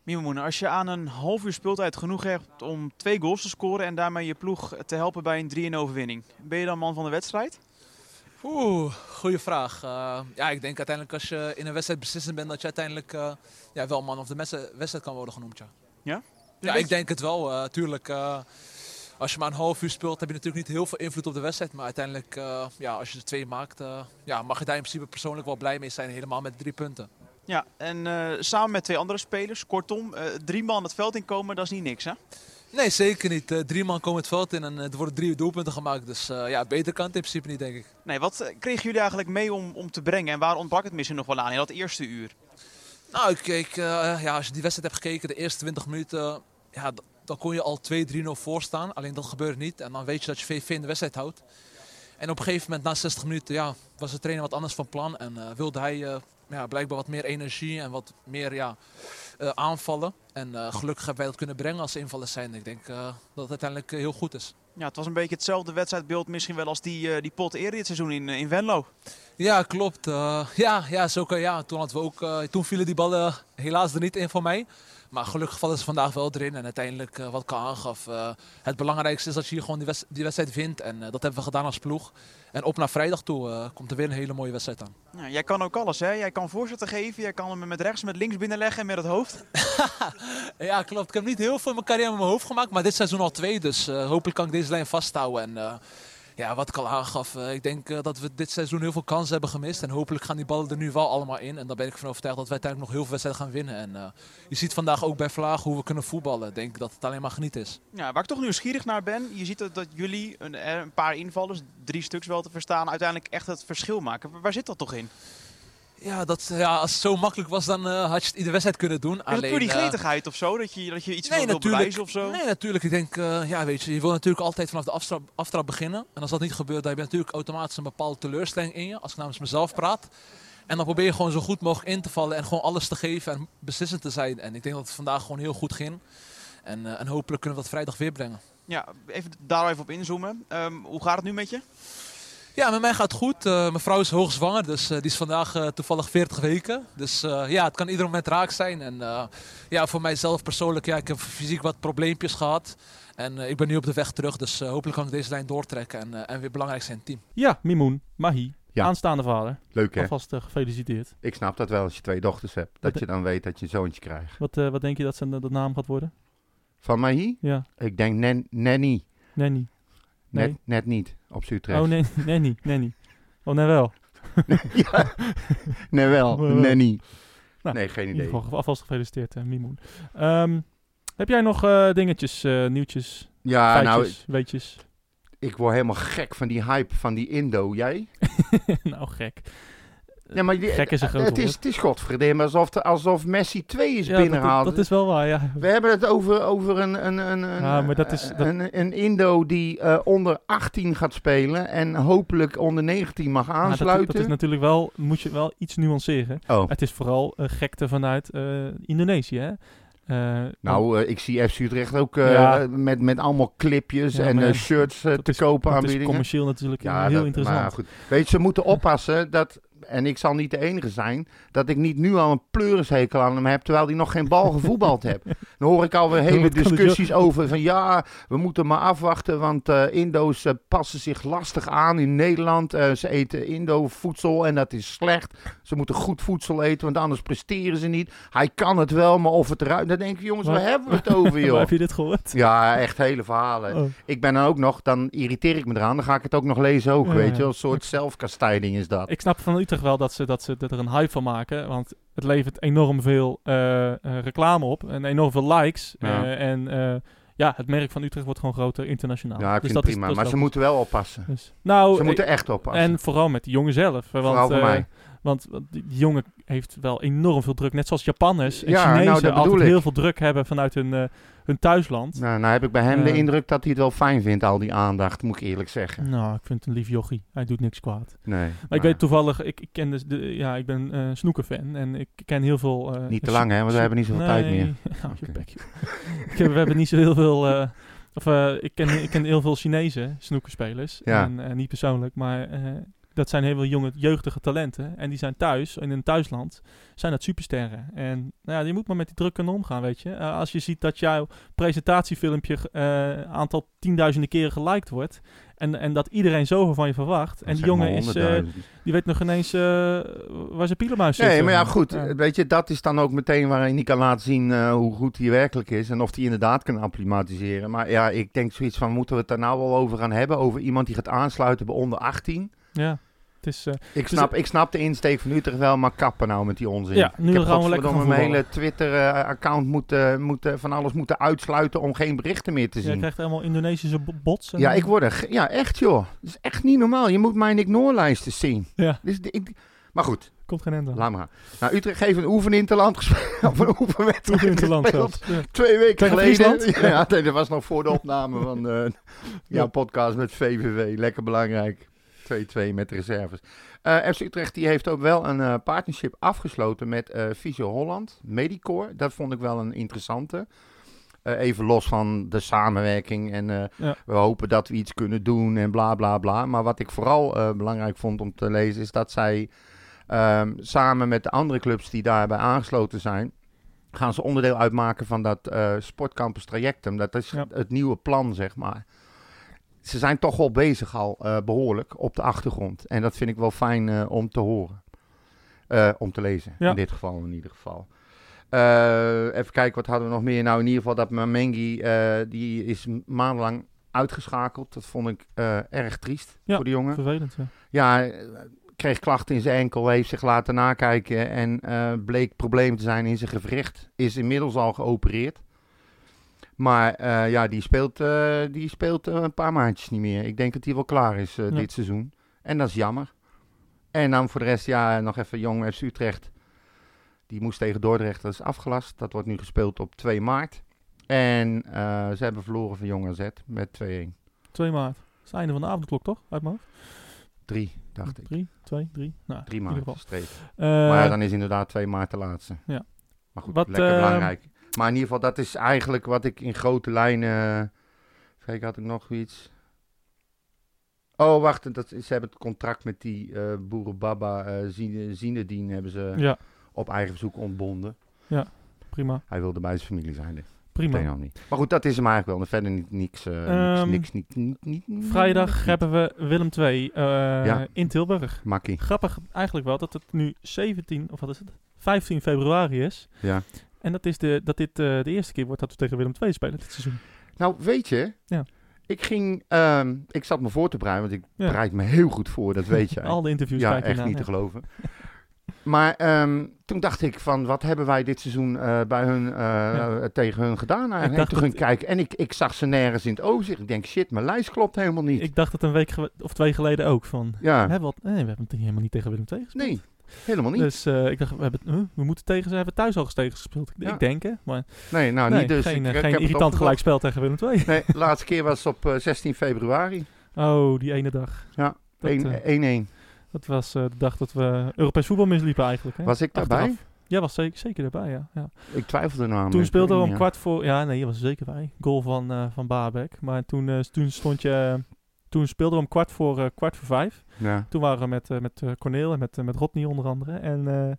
[SPEAKER 8] Mimoen, als je aan een half uur speeltijd genoeg hebt om twee goals te scoren en daarmee je ploeg te helpen bij een 3-1 overwinning, ben je dan man van de wedstrijd?
[SPEAKER 9] Oeh, goede vraag. Eh, ja, ik denk uiteindelijk als je in een wedstrijd beslissend bent, dat je uiteindelijk eh, ja, wel man of de wedstrijd wedstrijd kan worden genoemd. Ja,
[SPEAKER 8] Ja?
[SPEAKER 9] ja ik denk het wel. eh, tuurlijk, eh, als je maar een half uur speelt, heb je natuurlijk niet heel veel invloed op de wedstrijd. Maar uiteindelijk, eh, ja, als je er twee maakt, eh, ja, mag je daar in principe persoonlijk wel blij mee zijn. Helemaal met drie punten.
[SPEAKER 8] Ja, en eh, samen met twee andere spelers, kortom, eh, drie man het veld inkomen, dat is niet niks hè?
[SPEAKER 9] Nee, zeker niet. Eh, drie man komen het veld in en eh, er worden drie doelpunten gemaakt. Dus eh, ja, beter kan het in principe niet, denk ik.
[SPEAKER 8] Nee, wat eh, kregen jullie eigenlijk mee om, om te brengen en waar ontbrak het misschien nog wel aan in dat eerste uur?
[SPEAKER 9] Nou, ik, ik, eh, ja, als je die wedstrijd hebt gekeken, de eerste 20 minuten, ja, d- dan kon je al 2-3-0 voor staan. Alleen dat gebeurde niet. En dan weet je dat je VV in de wedstrijd houdt. En op een gegeven moment, na 60 minuten, ja, was de trainer wat anders van plan. En eh, wilde hij eh, ja, blijkbaar wat meer energie en wat meer ja, eh, aanvallen. En eh, gelukkig hebben wij dat kunnen brengen als invallers zijn. Ik denk eh, dat het uiteindelijk eh, heel goed is.
[SPEAKER 8] Ja, het was een beetje hetzelfde wedstrijdbeeld misschien wel als die, eh, die pot eerder dit seizoen in, eh, in Venlo.
[SPEAKER 9] Ja, klopt. Eh, ja, ja, zo kan ja. Toen, hadden we ook, eh, toen vielen die ballen helaas er niet in van mij. Maar gelukkig vallen ze vandaag wel erin. En uiteindelijk, eh, wat ik al aangaf, eh, het belangrijkste is dat je hier gewoon die, wedst- die wedstrijd wint. En eh, dat hebben we gedaan als ploeg. En op naar vrijdag toe eh, komt er weer een hele mooie wedstrijd aan.
[SPEAKER 8] Ja, jij kan ook alles hè, jij kan voorzetten geven, jij kan hem met rechts, met links binnenleggen en met het hoofd.
[SPEAKER 9] Ja, klopt. Ik heb niet heel veel in mijn carrière in mijn hoofd gemaakt. Maar dit seizoen al twee. Dus eh, hopelijk kan ik deze lijn vasthouden. En eh, ja, wat ik al aangaf, eh, ik denk eh, dat we dit seizoen heel veel kansen hebben gemist. En hopelijk gaan die ballen er nu wel allemaal in. En daar ben ik van overtuigd dat wij uiteindelijk nog heel veel wedstrijden gaan winnen. En eh, je ziet vandaag ook bij Vlaag hoe we kunnen voetballen. Ik denk dat het alleen maar geniet is.
[SPEAKER 8] Ja, waar ik toch nieuwsgierig naar ben, je ziet dat, dat jullie een, eh, een paar invallers, drie stuks wel te verstaan, uiteindelijk echt het verschil maken. Waar- Waar zit dat toch in?
[SPEAKER 9] Ja, dat, ja als het zo makkelijk was, dan eh, had je het iedere wedstrijd kunnen doen.
[SPEAKER 8] Is het puur die
[SPEAKER 9] eh,
[SPEAKER 8] gretigheid of zo? Dat je, dat je iets wil- wil bewijzen of zo?
[SPEAKER 9] Nee, natuurlijk. Ik denk, eh, ja, weet je, je wil natuurlijk altijd vanaf de aftrap, aftrap beginnen. En als dat niet gebeurt, dan heb je natuurlijk automatisch een bepaalde teleurstelling in je. Als ik namens mezelf praat. En dan probeer je gewoon zo goed mogelijk in te vallen en gewoon alles te geven en beslissend te zijn. En ik denk dat het vandaag gewoon heel goed ging. En, eh, en hopelijk kunnen we dat vrijdag weer brengen.
[SPEAKER 8] Ja, even daar even op inzoomen. Ehm, hoe gaat het nu met je?
[SPEAKER 9] Ja, met mij gaat het goed. Eh, mijn vrouw is hoogzwanger, dus eh, die is vandaag eh, toevallig 40 weken. Dus eh, ja, het kan ieder moment raak zijn. En eh, ja, voor mijzelf persoonlijk, ja, ik heb fysiek wat probleempjes gehad. En eh, ik ben nu op de weg terug, dus eh, hopelijk kan ik deze lijn doortrekken en, eh, en weer belangrijk zijn in het team.
[SPEAKER 2] Ja, Mimoun Mahi.
[SPEAKER 1] Ja.
[SPEAKER 2] Aanstaande vader.
[SPEAKER 1] Leuk hè?
[SPEAKER 2] Alvast eh, gefeliciteerd.
[SPEAKER 1] Ik snap dat wel als je twee dochters hebt. Dat
[SPEAKER 2] Wat-
[SPEAKER 1] je dan weet dat je een zoontje krijgt.
[SPEAKER 2] Wat, eh, wat denk je dat zijn de, de naam gaat worden?
[SPEAKER 1] Van Mahi?
[SPEAKER 2] Ja,
[SPEAKER 1] Ik denk nan- Nanny.
[SPEAKER 2] Nanny. Nee.
[SPEAKER 1] Net, net niet op Utrecht.
[SPEAKER 2] Oh nee, nee, niet, nee, niet. Oh nee, wel.
[SPEAKER 1] ja. Nee, wel.
[SPEAKER 2] Nee, wel.
[SPEAKER 1] Nee, niet.
[SPEAKER 2] Nou,
[SPEAKER 1] nee, geen
[SPEAKER 2] In ieder
[SPEAKER 1] idee.
[SPEAKER 2] geval alvast gefeliciteerd, eh, Mimoen. Ehm, heb jij nog eh, dingetjes, eh, nieuwtjes,
[SPEAKER 1] Ja, nou,
[SPEAKER 2] feitjes, weetjes?
[SPEAKER 1] ik word helemaal gek van die hype van die Indo. Jij?
[SPEAKER 2] nou, gek.
[SPEAKER 1] Ja, maar die-
[SPEAKER 2] Gek is een groot
[SPEAKER 1] het is,
[SPEAKER 2] woord.
[SPEAKER 1] het is godverdomme alsof, de- alsof Messi 2 is
[SPEAKER 2] Ja, dat,
[SPEAKER 1] binnengehaald.
[SPEAKER 2] dat is wel waar, ja.
[SPEAKER 1] We hebben het over, over een, een, een, een,
[SPEAKER 2] Ja, maar dat is- dat-
[SPEAKER 1] een, een Indo die eh, onder 18 gaat spelen en hopelijk onder 19 mag
[SPEAKER 2] Maar dat-
[SPEAKER 1] aansluiten.
[SPEAKER 2] Dat, is natuurlijk wel, moet je wel iets nuanceren.
[SPEAKER 1] Oh,
[SPEAKER 2] Het is vooral eh, gekte vanuit eh, Indonesië, hè? Eh, want
[SPEAKER 1] nou, eh, ik zie FC Utrecht ook eh,
[SPEAKER 2] Ja.
[SPEAKER 1] met, met allemaal clipjes
[SPEAKER 2] Ja,
[SPEAKER 1] en
[SPEAKER 2] maar
[SPEAKER 1] eh,
[SPEAKER 2] ja,
[SPEAKER 1] shirts eh,
[SPEAKER 2] dat
[SPEAKER 1] te
[SPEAKER 2] is-
[SPEAKER 1] kopen
[SPEAKER 2] dat is
[SPEAKER 1] aanbiedingen.
[SPEAKER 2] commercieel natuurlijk heel
[SPEAKER 1] dat-
[SPEAKER 2] interessant.
[SPEAKER 1] Maar goed. Weet je, ze moeten oppassen dat, en ik zal niet de enige zijn, dat ik niet nu al een pleurishekel aan hem heb, terwijl hij nog geen bal gevoetbald heeft. Dan hoor ik alweer
[SPEAKER 2] kan
[SPEAKER 1] hele
[SPEAKER 2] het, joh.
[SPEAKER 1] discussies over van ja, we moeten maar afwachten, want eh, Indo's eh, passen zich lastig aan in Nederland. Eh, ze eten Indo-voedsel en dat is slecht. Ze moeten goed voedsel eten, want anders presteren ze niet. Hij kan het wel, maar of het eruit... Dan denk ik, jongens, waar
[SPEAKER 2] Maar-
[SPEAKER 1] hebben we het over,
[SPEAKER 2] Maar
[SPEAKER 1] joh?
[SPEAKER 2] heb je dit gehoord?
[SPEAKER 1] Ja, echt hele verhalen.
[SPEAKER 2] Oh.
[SPEAKER 1] Ik ben dan ook nog, dan irriteer ik me eraan, dan ga ik het ook nog lezen ook,
[SPEAKER 2] Ja,
[SPEAKER 1] weet
[SPEAKER 2] ja.
[SPEAKER 1] je wel. Een soort zelfkastijding is dat.
[SPEAKER 2] Ik snap van Utrecht wel dat ze, dat ze er een hype van maken. Want het levert enorm veel eh, eh, reclame op. En enorm veel likes.
[SPEAKER 1] Ja.
[SPEAKER 2] eh, en eh, ja, het merk van Utrecht wordt gewoon groter internationaal.
[SPEAKER 1] ja, ik
[SPEAKER 2] Dus
[SPEAKER 1] vind
[SPEAKER 2] dat
[SPEAKER 1] het
[SPEAKER 2] is-
[SPEAKER 1] prima,
[SPEAKER 2] dat is
[SPEAKER 1] maar ze
[SPEAKER 2] wel
[SPEAKER 1] moeten wel oppassen.
[SPEAKER 2] goed. Dus- nou,
[SPEAKER 1] Ze
[SPEAKER 2] eh,
[SPEAKER 1] moeten echt oppassen.
[SPEAKER 2] en vooral met die jongen zelf. eh, Want,
[SPEAKER 1] Vooral voor
[SPEAKER 2] eh,
[SPEAKER 1] mij.
[SPEAKER 2] Want want die die jongen heeft wel enorm veel druk. Net zoals Japanners en
[SPEAKER 1] Ja, nou,
[SPEAKER 2] Chinezen
[SPEAKER 1] dat
[SPEAKER 2] altijd
[SPEAKER 1] bedoel ik.
[SPEAKER 2] heel veel druk hebben vanuit hun, eh, hun thuisland.
[SPEAKER 1] Nou, nou heb ik bij hem de
[SPEAKER 2] Eh.
[SPEAKER 1] indruk dat hij het wel fijn vindt, al die aandacht, moet ik eerlijk zeggen.
[SPEAKER 2] Nou, ik vind het een lief jochie. Hij doet niks kwaad.
[SPEAKER 1] Nee.
[SPEAKER 2] Maar ik
[SPEAKER 1] nou,
[SPEAKER 2] weet toevallig, ik, ik ken dus de, ja, ik ben eh snoekerfan en ik ken heel veel. eh,
[SPEAKER 1] Niet te
[SPEAKER 2] sno-
[SPEAKER 1] lang, hè, want we
[SPEAKER 2] sno-
[SPEAKER 1] hebben niet zoveel tijd meer.
[SPEAKER 2] Nee, hou je
[SPEAKER 1] Oké.
[SPEAKER 2] bek, joh. ik heb, we hebben niet zo heel veel. eh, of eh, ik, ken, ik ken heel veel Chinese snoekerspelers.
[SPEAKER 1] Ja.
[SPEAKER 2] En, eh, niet persoonlijk, maar eh, dat zijn heel veel jonge, jeugdige talenten. En die zijn thuis, in hun thuisland, zijn dat supersterren. En nou ja, je moet maar met die druk kunnen omgaan, weet je. Eh, als je ziet dat jouw presentatiefilmpje een aantal tienduizenden keren geliked wordt. En, en dat iedereen zoveel van je verwacht. En
[SPEAKER 1] dat
[SPEAKER 2] die
[SPEAKER 1] zijn maar
[SPEAKER 2] jongen is, eh,
[SPEAKER 1] 100.000.
[SPEAKER 2] die weet nog geen eens eh, waar zijn pielenmuis zit.
[SPEAKER 1] Nee, maar ja,
[SPEAKER 2] zeg
[SPEAKER 1] goed. Weet je, dat is dan ook meteen waarin hij kan laten zien eh, hoe goed hij werkelijk is. En of hij inderdaad kan acclimatiseren. Maar ja, ik denk zoiets van, moeten we het daar nou wel over gaan hebben? Over iemand die gaat aansluiten bij onder 18?
[SPEAKER 2] Ja, het is... eh,
[SPEAKER 1] Ik snap, ik snap de insteek van Utrecht wel, maar kappen nou met die onzin.
[SPEAKER 2] Ja, nu
[SPEAKER 1] ik heb
[SPEAKER 2] gaan we lekker
[SPEAKER 1] godverdomme
[SPEAKER 2] gaan
[SPEAKER 1] mijn
[SPEAKER 2] voetballen.
[SPEAKER 1] hele Twitter-account moeten, moeten, van alles moeten uitsluiten om geen berichten meer te
[SPEAKER 2] jij
[SPEAKER 1] zien.
[SPEAKER 2] krijgt allemaal Indonesische bo- bots. en-
[SPEAKER 1] Ja, ik word er... ge- Ja, echt joh. Dat is echt niet normaal. Je moet mijn ignoorlijsten zien.
[SPEAKER 2] Ja.
[SPEAKER 1] Dus de- ik, maar goed,
[SPEAKER 2] Komt geen end aan.
[SPEAKER 1] laat maar. Nou, Utrecht heeft een oefeninterland gespeeld. Of een oefenwedstrijd
[SPEAKER 2] Terug in het land
[SPEAKER 1] gespeeld.
[SPEAKER 2] zelfs. Ja.
[SPEAKER 1] Twee weken
[SPEAKER 2] Tegen
[SPEAKER 1] geleden.
[SPEAKER 2] Friesland?
[SPEAKER 1] Ja, nee, dat was nog voor de opname van eh, jouw podcast met VVV. Lekker belangrijk. 2-2 met reserves. Eh, FC Utrecht die heeft ook wel een eh, partnership afgesloten met eh Visio Holland, Medicore. Dat vond ik wel een interessante. Eh, even los van de samenwerking en eh,
[SPEAKER 2] Ja.
[SPEAKER 1] we hopen dat we iets kunnen doen en bla bla bla. Maar wat ik vooral eh, belangrijk vond om te lezen is dat zij ehm, samen met de andere clubs die daarbij aangesloten zijn, gaan ze onderdeel uitmaken van dat eh, sportcampus trajectum. Dat is
[SPEAKER 2] Ja.
[SPEAKER 1] het nieuwe plan, zeg maar. Ze zijn toch wel bezig al eh, behoorlijk op de achtergrond. En dat vind ik wel fijn eh, om te horen. Eh, om te lezen,
[SPEAKER 2] Ja.
[SPEAKER 1] in dit geval in ieder geval. Eh, even kijken, wat hadden we nog meer? Nou, in ieder geval dat Mamengi, eh, die is maandenlang uitgeschakeld. Dat vond ik eh, erg triest
[SPEAKER 2] Ja.
[SPEAKER 1] voor de jongen.
[SPEAKER 2] Vervelend, ja.
[SPEAKER 1] Ja, eh, kreeg klachten in zijn enkel, heeft zich laten nakijken en eh, bleek probleem te zijn in zijn gewricht. Is inmiddels al geopereerd. Maar eh, ja, die speelt, eh, die speelt eh, een paar maandjes niet meer. Ik denk dat hij wel klaar is eh,
[SPEAKER 2] Ja.
[SPEAKER 1] dit seizoen. En dat is jammer. En dan voor de rest, ja, nog even Jong FC Utrecht. Die moest tegen Dordrecht, dat is afgelast. Dat wordt nu gespeeld op 2 maart. En eh, ze hebben verloren van Jong AZ met 2-1.
[SPEAKER 2] 2 maart. Het is het einde van de avondklok, toch? Uit mijn hoofd.
[SPEAKER 1] 3, dacht ik.
[SPEAKER 2] 3, 2, 3. Nou,
[SPEAKER 1] 3
[SPEAKER 2] in ieder
[SPEAKER 1] maart,
[SPEAKER 2] geval.
[SPEAKER 1] streep.
[SPEAKER 2] Eh,
[SPEAKER 1] Maar ja, dan is inderdaad 2 maart de laatste.
[SPEAKER 2] Ja.
[SPEAKER 1] Maar goed,
[SPEAKER 2] Wat,
[SPEAKER 1] lekker
[SPEAKER 2] eh,
[SPEAKER 1] belangrijk. Maar in ieder geval, dat is eigenlijk wat ik in grote lijnen... Kijk, had ik nog iets? Oh, wacht. Dat, ze hebben het contract met die eh boerenbaba eh Zine- Zinedine hebben ze
[SPEAKER 2] ja,
[SPEAKER 1] op eigen verzoek ontbonden.
[SPEAKER 2] prima.
[SPEAKER 1] Hij wilde bij zijn familie zijn. dus Ik weet
[SPEAKER 2] Prima.
[SPEAKER 1] nog niet. Maar goed, dat is hem eigenlijk wel. En verder niet, niks, eh, niks,
[SPEAKER 2] Ehm,
[SPEAKER 1] niks, niet, niet, niet, niet-
[SPEAKER 2] Vrijdag
[SPEAKER 1] niet.
[SPEAKER 2] hebben we Willem 2
[SPEAKER 1] Ja.
[SPEAKER 2] in Tilburg.
[SPEAKER 1] Makkie,
[SPEAKER 2] Grappig eigenlijk wel dat het nu 17, of wat is het? 15 februari is.
[SPEAKER 1] ja.
[SPEAKER 2] En dat, is de, dat dit eh, de eerste keer wordt dat we tegen Willem 2 spelen dit seizoen.
[SPEAKER 1] Nou, weet je...
[SPEAKER 2] Ja.
[SPEAKER 1] Ik ging, ehm, ik zat me voor te bereiden, want ik
[SPEAKER 2] Ja.
[SPEAKER 1] bereid me heel goed voor, dat weet jij.
[SPEAKER 2] Al de interviews
[SPEAKER 1] ja,
[SPEAKER 2] kijk je
[SPEAKER 1] echt
[SPEAKER 2] na.
[SPEAKER 1] niet te geloven. Maar ehm, toen dacht ik van, wat hebben wij dit seizoen eh, bij hun, eh,
[SPEAKER 2] Ja.
[SPEAKER 1] tegen hun gedaan? En
[SPEAKER 2] Ik
[SPEAKER 1] ik
[SPEAKER 2] dacht
[SPEAKER 1] toen ging ik
[SPEAKER 2] dat-
[SPEAKER 1] kijken en ik, ik zag ze nergens in het overzicht. Ik denk, shit, mijn lijst klopt helemaal niet.
[SPEAKER 2] Ik dacht het een week ge- of twee geleden ook van.
[SPEAKER 1] ja,
[SPEAKER 2] Hebben we, al- nee, we hebben het helemaal niet tegen Willem II gespeeld.
[SPEAKER 1] nee, helemaal niet.
[SPEAKER 2] Dus eh, ik dacht, we, hebben, huh, we moeten tegen ze, hebben thuis al eens tegen ze gespeeld. Ik,
[SPEAKER 1] Ja.
[SPEAKER 2] ik denk hè, maar
[SPEAKER 1] nee, nou
[SPEAKER 2] nee,
[SPEAKER 1] niet dus.
[SPEAKER 2] geen,
[SPEAKER 1] ik,
[SPEAKER 2] eh,
[SPEAKER 1] ik
[SPEAKER 2] geen
[SPEAKER 1] heb het
[SPEAKER 2] irritant
[SPEAKER 1] opgezocht.
[SPEAKER 2] gelijkspel tegen Willem II.
[SPEAKER 1] Nee, de laatste keer was op eh, 16 februari. 1-1.
[SPEAKER 2] Oh, die ene dag.
[SPEAKER 1] Ja,
[SPEAKER 2] dat, eh, dat was eh, de dag dat we Europees voetbal misliepen eigenlijk. Hè?
[SPEAKER 1] Was ik Oh, daarbij?
[SPEAKER 2] Achteraf. Ja, was zeker, zeker daarbij, ja. ja.
[SPEAKER 1] Ik twijfelde namelijk.
[SPEAKER 2] Toen speelden we om
[SPEAKER 1] Ja.
[SPEAKER 2] kwart voor. Ja, nee, je was er zeker bij. Goal van, eh van Baabek. Maar toen, eh, toen stond je. toen speelden we om kwart voor, eh, kwart voor vijf.
[SPEAKER 1] Ja.
[SPEAKER 2] Toen waren we met, eh, met eh, Corneel en met, eh, met Rodney onder andere. En eh,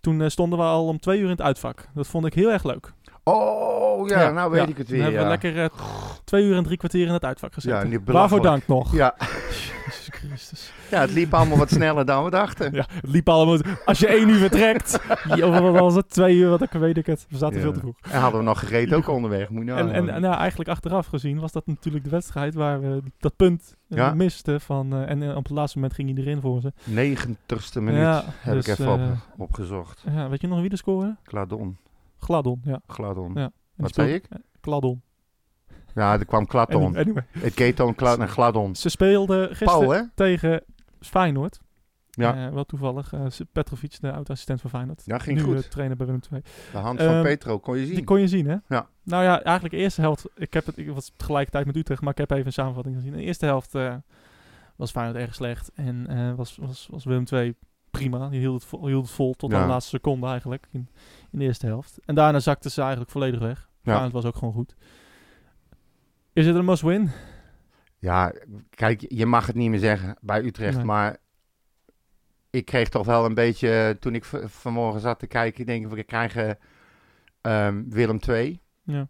[SPEAKER 2] toen eh, stonden we al om twee uur in het uitvak. Dat vond ik heel erg leuk.
[SPEAKER 1] Oh, ja,
[SPEAKER 2] Ja,
[SPEAKER 1] nou weet
[SPEAKER 2] ja.
[SPEAKER 1] ik het
[SPEAKER 2] Toen
[SPEAKER 1] weer.
[SPEAKER 2] hebben we
[SPEAKER 1] Ja.
[SPEAKER 2] lekker eh, twee uur en drie kwartier in het uitvak gezeten.
[SPEAKER 1] niet
[SPEAKER 2] Waarvoor
[SPEAKER 1] belachelijk.
[SPEAKER 2] dank nog.
[SPEAKER 1] Ja.
[SPEAKER 2] Jezus Christus.
[SPEAKER 1] ja, het liep allemaal wat sneller dan we dachten.
[SPEAKER 2] Ja, het liep allemaal. Als je één uur vertrekt. Yo, wat was het? Twee uur, wat ik weet ik het. We zaten
[SPEAKER 1] Ja.
[SPEAKER 2] veel te vroeg.
[SPEAKER 1] En hadden we nog gereden ook onderweg. Moet je nou
[SPEAKER 2] En, en,
[SPEAKER 1] horen.
[SPEAKER 2] en ja, eigenlijk achteraf gezien was dat natuurlijk de wedstrijd waar we dat punt eh,
[SPEAKER 1] Ja.
[SPEAKER 2] misten. Van, eh, en eh, op het laatste moment ging iedereen voor ze.
[SPEAKER 1] 90ste minuut
[SPEAKER 2] Ja,
[SPEAKER 1] heb
[SPEAKER 2] dus,
[SPEAKER 1] ik even
[SPEAKER 2] eh,
[SPEAKER 1] op, opgezocht.
[SPEAKER 2] Ja, weet je nog wie de scoorde?
[SPEAKER 1] Gladon.
[SPEAKER 2] Gladon, ja. En
[SPEAKER 1] Gladon.
[SPEAKER 2] Ja. die
[SPEAKER 1] Wat zei
[SPEAKER 2] speelde- eh, Gladon.
[SPEAKER 1] Ja, er kwam Klaton.
[SPEAKER 2] Anyway, anyway.
[SPEAKER 1] Het keton Kla en Gladon.
[SPEAKER 2] Ze speelden gisteren
[SPEAKER 1] Pauw, hè?
[SPEAKER 2] tegen Feyenoord.
[SPEAKER 1] Ja.
[SPEAKER 2] Eh, wel toevallig. eh, Petrovic, de oud-assistent van Feyenoord.
[SPEAKER 1] Ja, ging
[SPEAKER 2] nu
[SPEAKER 1] goed.
[SPEAKER 2] eh, trainer bij Willem II.
[SPEAKER 1] De hand van
[SPEAKER 2] ehm,
[SPEAKER 1] Petro kon je zien.
[SPEAKER 2] Die kon je zien, hè?
[SPEAKER 1] Ja.
[SPEAKER 2] Nou ja, eigenlijk de eerste helft... Ik heb het... Ik was tegelijkertijd met Utrecht, maar ik heb even een samenvatting gezien. De eerste helft eh, was Feyenoord erg slecht. En eh, was, was, was Willem II prima. Die hield het vol, hield het vol tot aan
[SPEAKER 1] Ja.
[SPEAKER 2] de laatste seconde eigenlijk. In, in de eerste helft. En daarna zakte ze eigenlijk volledig weg.
[SPEAKER 1] Ja.
[SPEAKER 2] Feyenoord was ook gewoon goed. Is het een must-win?
[SPEAKER 1] Ja, kijk, je mag het niet meer zeggen bij Utrecht,
[SPEAKER 2] Nee.
[SPEAKER 1] maar ik kreeg toch wel een beetje, eh, toen ik v- vanmorgen zat te kijken, ik denk, we krijgen ehm, Willem II,
[SPEAKER 2] Ja.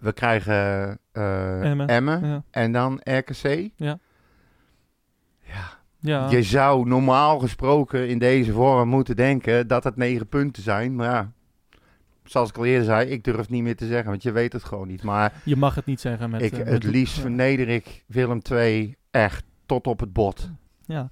[SPEAKER 1] we krijgen eh,
[SPEAKER 2] Emmen.
[SPEAKER 1] Emmen,
[SPEAKER 2] Ja.
[SPEAKER 1] en dan RKC.
[SPEAKER 2] Ja.
[SPEAKER 1] Je zou normaal gesproken in deze vorm moeten denken dat het negen punten zijn, maar ja, zoals ik al eerder zei, ik durf het niet meer te zeggen, want je weet het gewoon niet. Maar
[SPEAKER 2] Je mag het niet zeggen met...
[SPEAKER 1] ik,
[SPEAKER 2] eh,
[SPEAKER 1] het
[SPEAKER 2] met-
[SPEAKER 1] liefst
[SPEAKER 2] ja.
[SPEAKER 1] verneder ik Willem II echt tot op het bot.
[SPEAKER 2] Ja,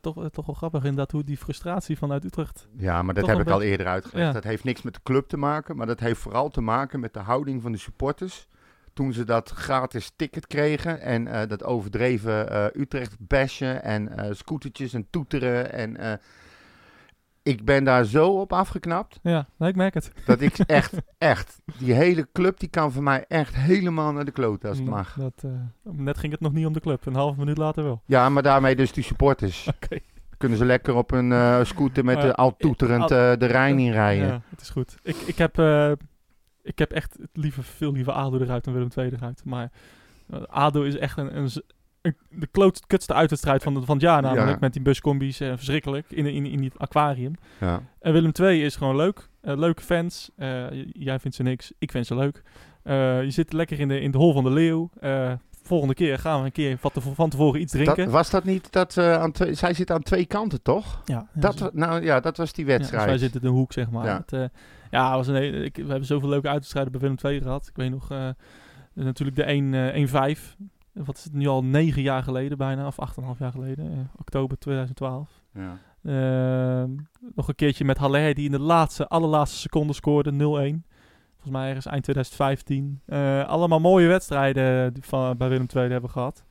[SPEAKER 2] toch, eh, toch wel grappig inderdaad hoe die frustratie vanuit Utrecht...
[SPEAKER 1] Ja, maar dat
[SPEAKER 2] Toch
[SPEAKER 1] heb
[SPEAKER 2] een
[SPEAKER 1] ik al eerder uitgelegd.
[SPEAKER 2] Ja.
[SPEAKER 1] Dat heeft niks met de club te maken, maar dat heeft vooral te maken met de houding van de supporters. Toen ze dat gratis ticket kregen en eh, dat overdreven eh, Utrecht bashen en eh, scootertjes en toeteren. En, eh, ik ben daar zo op afgeknapt
[SPEAKER 2] Ja, nou, ik merk het.
[SPEAKER 1] dat ik echt, echt, die hele club die kan voor mij echt helemaal naar de klote als het
[SPEAKER 2] Mm,
[SPEAKER 1] mag.
[SPEAKER 2] Dat, eh, net ging het nog niet om de club. Een half minuut later wel.
[SPEAKER 1] Ja, maar daarmee dus die supporters.
[SPEAKER 2] Oké.
[SPEAKER 1] Kunnen ze lekker op een eh, scooter met
[SPEAKER 2] Maar
[SPEAKER 1] de, al toeterend
[SPEAKER 2] al-
[SPEAKER 1] eh, de Rijn inrijden.
[SPEAKER 2] Ja, het is goed. Ik, ik, heb, eh, ik heb echt het liever, veel liever ADO eruit dan Willem II eruit. Maar eh, ADO is echt een, een, z- een- de kloot, kutste uitwedstrijd van, het- van het jaar namelijk.
[SPEAKER 1] Ja.
[SPEAKER 2] Met die buscombi's. eh, verschrikkelijk. In, in, in die aquarium.
[SPEAKER 1] Ja.
[SPEAKER 2] En Willem II is gewoon leuk. Eh, leuke fans. Eh, j- jij vindt ze niks. Ik vind ze leuk. Eh, je zit lekker in de, in de hol van de leeuw. Eh, volgende keer gaan we een keer van tevo- van tevoren iets
[SPEAKER 1] Dat,
[SPEAKER 2] drinken.
[SPEAKER 1] was dat niet dat eh, aan twee, zij zit aan twee kanten, toch?
[SPEAKER 2] ja, ja,
[SPEAKER 1] Dat,
[SPEAKER 2] zo-
[SPEAKER 1] wa- nou ja, dat was die
[SPEAKER 2] Ja, dus wij
[SPEAKER 1] wedstrijd.
[SPEAKER 2] zitten in de hoek, zeg maar.
[SPEAKER 1] Ja.
[SPEAKER 2] Het, eh, ja, was een hele- ik, we hebben zoveel leuke uitstrijden bij Willem II gehad. Ik weet nog, eh, natuurlijk de 1, eh, 1-5. Wat is het nu al? Negen jaar geleden bijna, of 8,5 jaar geleden. eh, oktober 2012.
[SPEAKER 1] Ja.
[SPEAKER 2] Ehm, nog een keertje met Haller, die in de laatste, allerlaatste seconde scoorde, 0-1. Volgens mij ergens eind 2015. Eh, allemaal mooie wedstrijden eh, die van, bij Willem II hebben we gehad.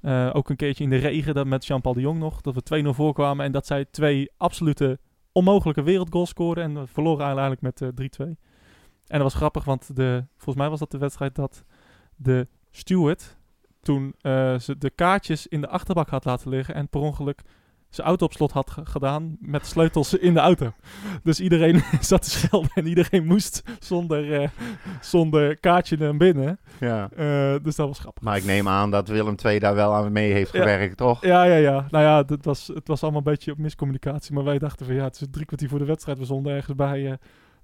[SPEAKER 2] Eh, ook een keertje in de regen dat met Jean-Paul de Jong nog. Dat we 2-0 voorkwamen en dat zij twee absolute onmogelijke wereldgoals scoorden. En we verloren eigenlijk met eh, 3-2. En dat was grappig, want de, volgens mij was dat de wedstrijd dat de steward toen eh, ze de kaartjes in de achterbak had laten liggen. En per ongeluk zijn auto op slot had ge- gedaan met sleutels in de auto. Dus iedereen zat te schelden en iedereen moest zonder, eh, zonder kaartje naar binnen.
[SPEAKER 1] Ja.
[SPEAKER 2] Eh, dus dat was grappig.
[SPEAKER 1] Maar ik neem aan dat Willem II daar wel aan mee heeft
[SPEAKER 2] Ja.
[SPEAKER 1] gewerkt, toch?
[SPEAKER 2] Ja, ja, ja. Nou ja, dat was, het was allemaal een beetje op miscommunicatie. Maar wij dachten van ja, het is drie kwartier voor de wedstrijd. We stonden ergens bij, eh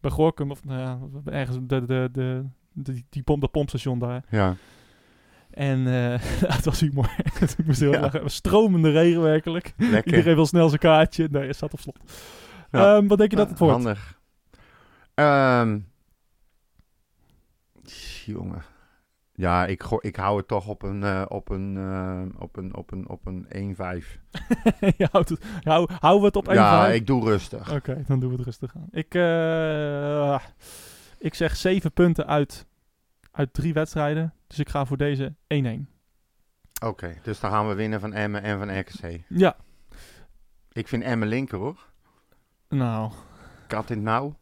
[SPEAKER 2] bij Gorkum of nou ja, ergens de, de, de, de, die pomp, dat pompstation daar.
[SPEAKER 1] Ja.
[SPEAKER 2] En eh, het was humor. ik moest heel erg
[SPEAKER 1] Ja.
[SPEAKER 2] lachen. Stromende regen werkelijk.
[SPEAKER 1] Lekker.
[SPEAKER 2] Iedereen wil snel zijn kaartje. Nee, het staat op slot.
[SPEAKER 1] Ja.
[SPEAKER 2] Ehm, wat denk je dat
[SPEAKER 1] Ah,
[SPEAKER 2] het wordt?
[SPEAKER 1] Handig. Ehm, jongen. Ja, ik, go- ik hou het toch op een, eh, op een, eh, op een, op een, op een 1-5.
[SPEAKER 2] je houdt het, hou, houden we het op één
[SPEAKER 1] Ja,
[SPEAKER 2] vijf?
[SPEAKER 1] ik doe rustig.
[SPEAKER 2] Oké, dan doen we het rustig aan. Ik, eh, ik zeg zeven punten uit, uit drie wedstrijden. Dus ik ga voor deze 1-1.
[SPEAKER 1] Oké, dus dan gaan we winnen van Emmen en van RKC.
[SPEAKER 2] Ja,
[SPEAKER 1] Ik vind Emmen linker hoor.
[SPEAKER 2] nou.
[SPEAKER 1] Kat in het nauw.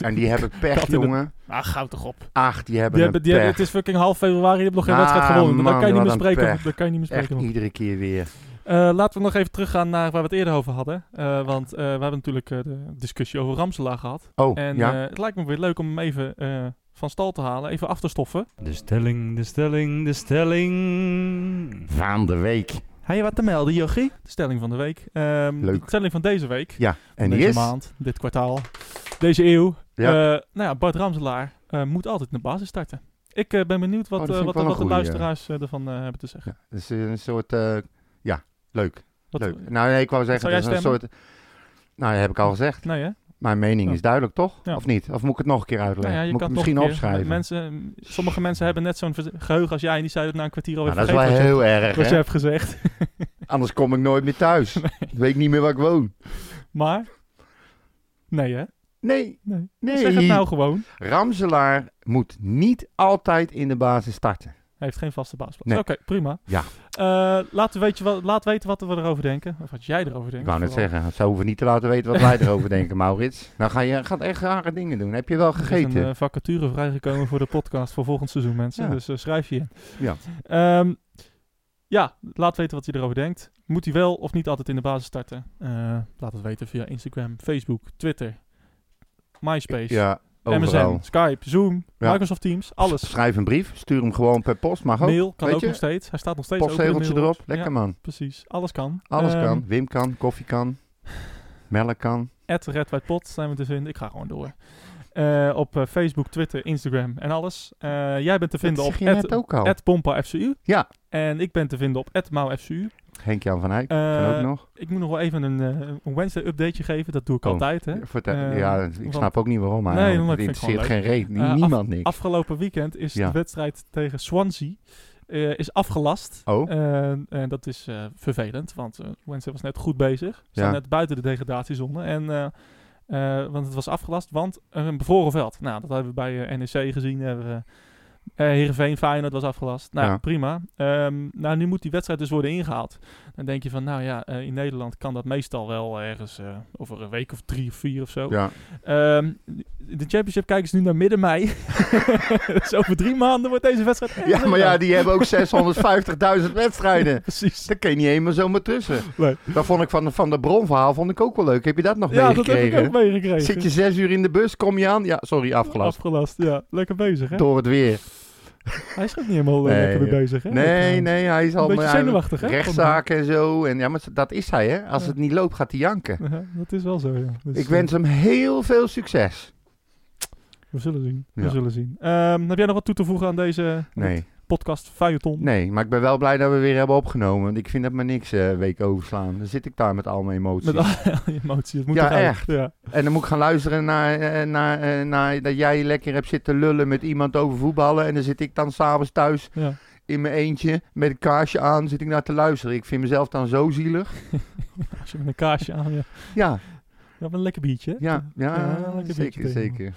[SPEAKER 1] En die hebben pech,
[SPEAKER 2] Kat in het-
[SPEAKER 1] jongen.
[SPEAKER 2] Ah, gauw toch op.
[SPEAKER 1] Ach, die hebben
[SPEAKER 2] Die hebben,
[SPEAKER 1] een
[SPEAKER 2] die hebben,
[SPEAKER 1] pech.
[SPEAKER 2] het is fucking half februari, die hebben nog geen
[SPEAKER 1] Ah,
[SPEAKER 2] wedstrijd gewonnen.
[SPEAKER 1] man,
[SPEAKER 2] dat kan je niet
[SPEAKER 1] wat
[SPEAKER 2] meer
[SPEAKER 1] een
[SPEAKER 2] spreken.
[SPEAKER 1] pech.
[SPEAKER 2] Dat kan je niet meer spreken.
[SPEAKER 1] Echt
[SPEAKER 2] man.
[SPEAKER 1] iedere keer weer.
[SPEAKER 2] Eh, laten we nog even teruggaan naar waar we het eerder over hadden. Eh, want eh, we hebben natuurlijk eh, de discussie over Ramselaar gehad.
[SPEAKER 1] Oh,
[SPEAKER 2] En
[SPEAKER 1] ja.
[SPEAKER 2] eh, het lijkt me weer leuk om hem even eh, van stal te halen. Even af te stoffen.
[SPEAKER 10] De stelling, de stelling, de stelling.
[SPEAKER 1] Van de week.
[SPEAKER 2] Hij je wat te melden, Jochie? De stelling van de week. Ehm,
[SPEAKER 1] Leuk.
[SPEAKER 2] De stelling van deze week.
[SPEAKER 1] Ja, en die
[SPEAKER 2] deze
[SPEAKER 1] is...
[SPEAKER 2] maand, dit kwartaal, deze eeuw.
[SPEAKER 1] Ja.
[SPEAKER 2] Eh, nou ja, Bart Ramselaar eh, moet altijd in de basis starten. Ik eh, ben benieuwd wat,
[SPEAKER 1] Oh, dat
[SPEAKER 2] eh,
[SPEAKER 1] vind ik
[SPEAKER 2] wat,
[SPEAKER 1] wel een
[SPEAKER 2] wat de
[SPEAKER 1] goeie, ja.
[SPEAKER 2] luisteraars eh, ervan eh, hebben te zeggen.
[SPEAKER 1] Ja, dat is een soort... eh, ja, leuk.
[SPEAKER 2] Wat,
[SPEAKER 1] leuk. Nou, nee, ik wou zeggen,
[SPEAKER 2] zou
[SPEAKER 1] dat is
[SPEAKER 2] jij
[SPEAKER 1] een soort... Nou, dat heb ik al gezegd.
[SPEAKER 2] Nee, hè?
[SPEAKER 1] Mijn mening
[SPEAKER 2] Ja.
[SPEAKER 1] is duidelijk, toch?
[SPEAKER 2] Oh. Ja.
[SPEAKER 1] Of niet? Of moet ik het nog een keer
[SPEAKER 2] Nou
[SPEAKER 1] uitleggen?
[SPEAKER 2] ja, je
[SPEAKER 1] moet ik
[SPEAKER 2] kan
[SPEAKER 1] het
[SPEAKER 2] toch
[SPEAKER 1] misschien
[SPEAKER 2] een keer-
[SPEAKER 1] opschrijven?
[SPEAKER 2] Mensen, sommige mensen hebben net zo'n verze- geheugen als jij en die zeiden het na een kwartier alweer
[SPEAKER 1] Nou, dat is wel
[SPEAKER 2] vergeten wat,
[SPEAKER 1] heel
[SPEAKER 2] je,
[SPEAKER 1] erg,
[SPEAKER 2] wat je
[SPEAKER 1] hè?
[SPEAKER 2] hebt gezegd.
[SPEAKER 1] Anders kom ik nooit meer thuis. Dan weet ik niet meer waar ik woon.
[SPEAKER 2] Maar, nee hè?
[SPEAKER 1] Nee,
[SPEAKER 2] Nee.
[SPEAKER 1] nee.
[SPEAKER 2] Zeg het nou gewoon.
[SPEAKER 1] Ramselaar moet niet altijd in de basis starten.
[SPEAKER 2] Hij heeft geen vaste baasplaats.
[SPEAKER 1] Nee.
[SPEAKER 2] Oké, prima.
[SPEAKER 1] Ja.
[SPEAKER 2] Eh, laat, weten wat, laat weten wat we erover denken. Of wat jij erover
[SPEAKER 1] Ik
[SPEAKER 2] denkt.
[SPEAKER 1] wou net
[SPEAKER 2] vooral.
[SPEAKER 1] zeggen, ze hoeven niet te laten weten wat wij erover denken, Maurits. Nou ga je gaat echt rare dingen doen. Heb je wel
[SPEAKER 2] Er is een
[SPEAKER 1] gegeten?
[SPEAKER 2] eh, vacature vrijgekomen voor de podcast voor volgend seizoen, mensen.
[SPEAKER 1] Ja.
[SPEAKER 2] Dus eh, schrijf je in.
[SPEAKER 1] Ja.
[SPEAKER 2] Ehm, ja, laat weten wat je erover denkt. Moet hij wel of niet altijd in de basis starten? Eh, laat het weten via Instagram, Facebook, Twitter, MySpace,
[SPEAKER 1] ja, overal.
[SPEAKER 2] MSN, Skype, Zoom,
[SPEAKER 1] Ja.
[SPEAKER 2] Microsoft Teams. Alles.
[SPEAKER 1] Schrijf een brief, stuur hem gewoon per post, mag ook.
[SPEAKER 2] Mail kan
[SPEAKER 1] weet
[SPEAKER 2] ook
[SPEAKER 1] je?
[SPEAKER 2] nog steeds. Hij staat nog steeds open. in de
[SPEAKER 1] Postzegeltje
[SPEAKER 2] mailbox.
[SPEAKER 1] erop, lekker
[SPEAKER 2] Ja,
[SPEAKER 1] man.
[SPEAKER 2] precies. Alles kan.
[SPEAKER 1] Alles
[SPEAKER 2] Ehm,
[SPEAKER 1] kan. Wim kan, koffie kan, melk kan.
[SPEAKER 2] At Red White Pot zijn we te vinden. Ik ga gewoon door. Eh, op eh, Facebook, Twitter, Instagram en alles. Eh, jij bent te
[SPEAKER 1] Dat
[SPEAKER 2] vinden
[SPEAKER 1] zeg
[SPEAKER 2] op
[SPEAKER 1] je
[SPEAKER 2] at-
[SPEAKER 1] net ook al.
[SPEAKER 2] At Pompa FCU.
[SPEAKER 1] Ja.
[SPEAKER 2] En ik ben te vinden op @mauFCU.
[SPEAKER 1] Henk-Jan van Eyck,
[SPEAKER 2] Eh,
[SPEAKER 1] kan ook nog.
[SPEAKER 2] Ik moet nog wel even een, eh, een Wednesday updateje geven. Dat doe ik
[SPEAKER 1] Oh,
[SPEAKER 2] altijd. Hè.
[SPEAKER 1] Vertel-
[SPEAKER 2] eh,
[SPEAKER 1] ja, ik
[SPEAKER 2] want-
[SPEAKER 1] snap ook niet waarom, maar
[SPEAKER 2] Nee,
[SPEAKER 1] nee,
[SPEAKER 2] dat
[SPEAKER 1] het
[SPEAKER 2] vind ik gewoon
[SPEAKER 1] interesseert geen reet.
[SPEAKER 2] Eh, af-
[SPEAKER 1] Niemand niks.
[SPEAKER 2] Afgelopen weekend is
[SPEAKER 1] Ja.
[SPEAKER 2] de wedstrijd tegen Swansea eh, is afgelast.
[SPEAKER 1] Oh.
[SPEAKER 2] Eh, en dat is eh, vervelend, want eh Wednesday was net goed bezig. Ze staan
[SPEAKER 1] Ja.
[SPEAKER 2] net buiten de degradatiezone. En, eh, eh, want het was afgelast, want er een bevroren veld. Nou, dat hebben we bij eh, NEC gezien. Hebben we, eh, Heerenveen, Feyenoord was afgelast. Nou,
[SPEAKER 1] Ja.
[SPEAKER 2] prima. Ehm, nou, nu moet die wedstrijd dus worden ingehaald. Dan denk je van, nou ja, eh, in Nederland kan dat meestal wel ergens eh, over een week of drie of vier of zo.
[SPEAKER 1] Ja,
[SPEAKER 2] Ehm, de Championship kijken ze nu naar midden mei. dus over drie maanden wordt deze wedstrijd. erg
[SPEAKER 1] ja maar ja,
[SPEAKER 2] leuk.
[SPEAKER 1] die hebben ook 650.000 wedstrijden.
[SPEAKER 2] Precies.
[SPEAKER 1] Daar kun je niet eenmaal zomaar tussen.
[SPEAKER 2] Nee.
[SPEAKER 1] Dat vond ik van, de- van de bronverhaal vond ik ook wel leuk. Heb je dat nog
[SPEAKER 2] Ja, dat heb ik
[SPEAKER 1] meegekregen?
[SPEAKER 2] ook meegekregen.
[SPEAKER 1] Zit je zes uur in de bus, kom je aan? Ja, sorry, afgelast.
[SPEAKER 2] Afgelast, ja. Lekker bezig, hè?
[SPEAKER 1] Door het weer.
[SPEAKER 2] Hij is ook niet helemaal eh,
[SPEAKER 1] Nee,
[SPEAKER 2] lekker mee
[SPEAKER 1] ja.
[SPEAKER 2] bezig, hè?
[SPEAKER 1] Nee,
[SPEAKER 2] Ook, eh,
[SPEAKER 1] nee, hij is al...
[SPEAKER 2] beetje
[SPEAKER 1] hij-
[SPEAKER 2] zenuwachtig, hè?
[SPEAKER 1] Rechtszaken en zo. En, ja, maar dat is hij, hè? Als
[SPEAKER 2] Ja.
[SPEAKER 1] het niet loopt, gaat hij janken.
[SPEAKER 2] ja, dat is wel zo, ja. Dus,
[SPEAKER 1] Ik wens hem heel veel succes.
[SPEAKER 2] eh, We zullen zien. We
[SPEAKER 1] Ja.
[SPEAKER 2] zullen zien. Ehm, heb jij nog wat toe te voegen aan deze
[SPEAKER 1] Nee,
[SPEAKER 2] podcast Feuilleton?
[SPEAKER 1] nee, maar ik ben wel blij dat we weer hebben opgenomen. Want ik vind dat maar niks eh, week overslaan. Dan zit ik daar met al mijn emoties.
[SPEAKER 2] Met alle emotie. Het moet
[SPEAKER 1] Ja,
[SPEAKER 2] eruit.
[SPEAKER 1] echt.
[SPEAKER 2] Ja.
[SPEAKER 1] En dan moet ik gaan luisteren naar, eh, naar, eh, naar dat jij lekker hebt zitten lullen met iemand over voetballen. En dan zit ik dan s'avonds thuis
[SPEAKER 2] Ja.
[SPEAKER 1] in mijn eentje met een kaarsje aan, zit ik naar te luisteren. Ik vind mezelf dan zo zielig.
[SPEAKER 2] Als je met een kaarsje aan... Ja,
[SPEAKER 1] Ja,
[SPEAKER 2] ja met een lekker biertje. hè?
[SPEAKER 1] ja, ja,
[SPEAKER 2] Ja, lekker biertje
[SPEAKER 1] zeker,
[SPEAKER 2] tegen.
[SPEAKER 1] zeker.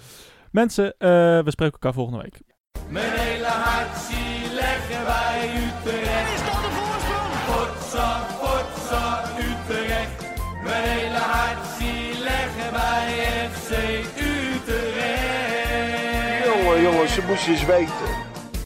[SPEAKER 2] Mensen, eh, we spreken elkaar volgende week.
[SPEAKER 3] Mijn hele hart zie leggen wij Utrecht. Is dat de voorsprong? Potsa, potsa, Utrecht. Mijn hele hart zie leggen wij FC Utrecht.
[SPEAKER 4] Jongen, jongens, ze moesten eens weten.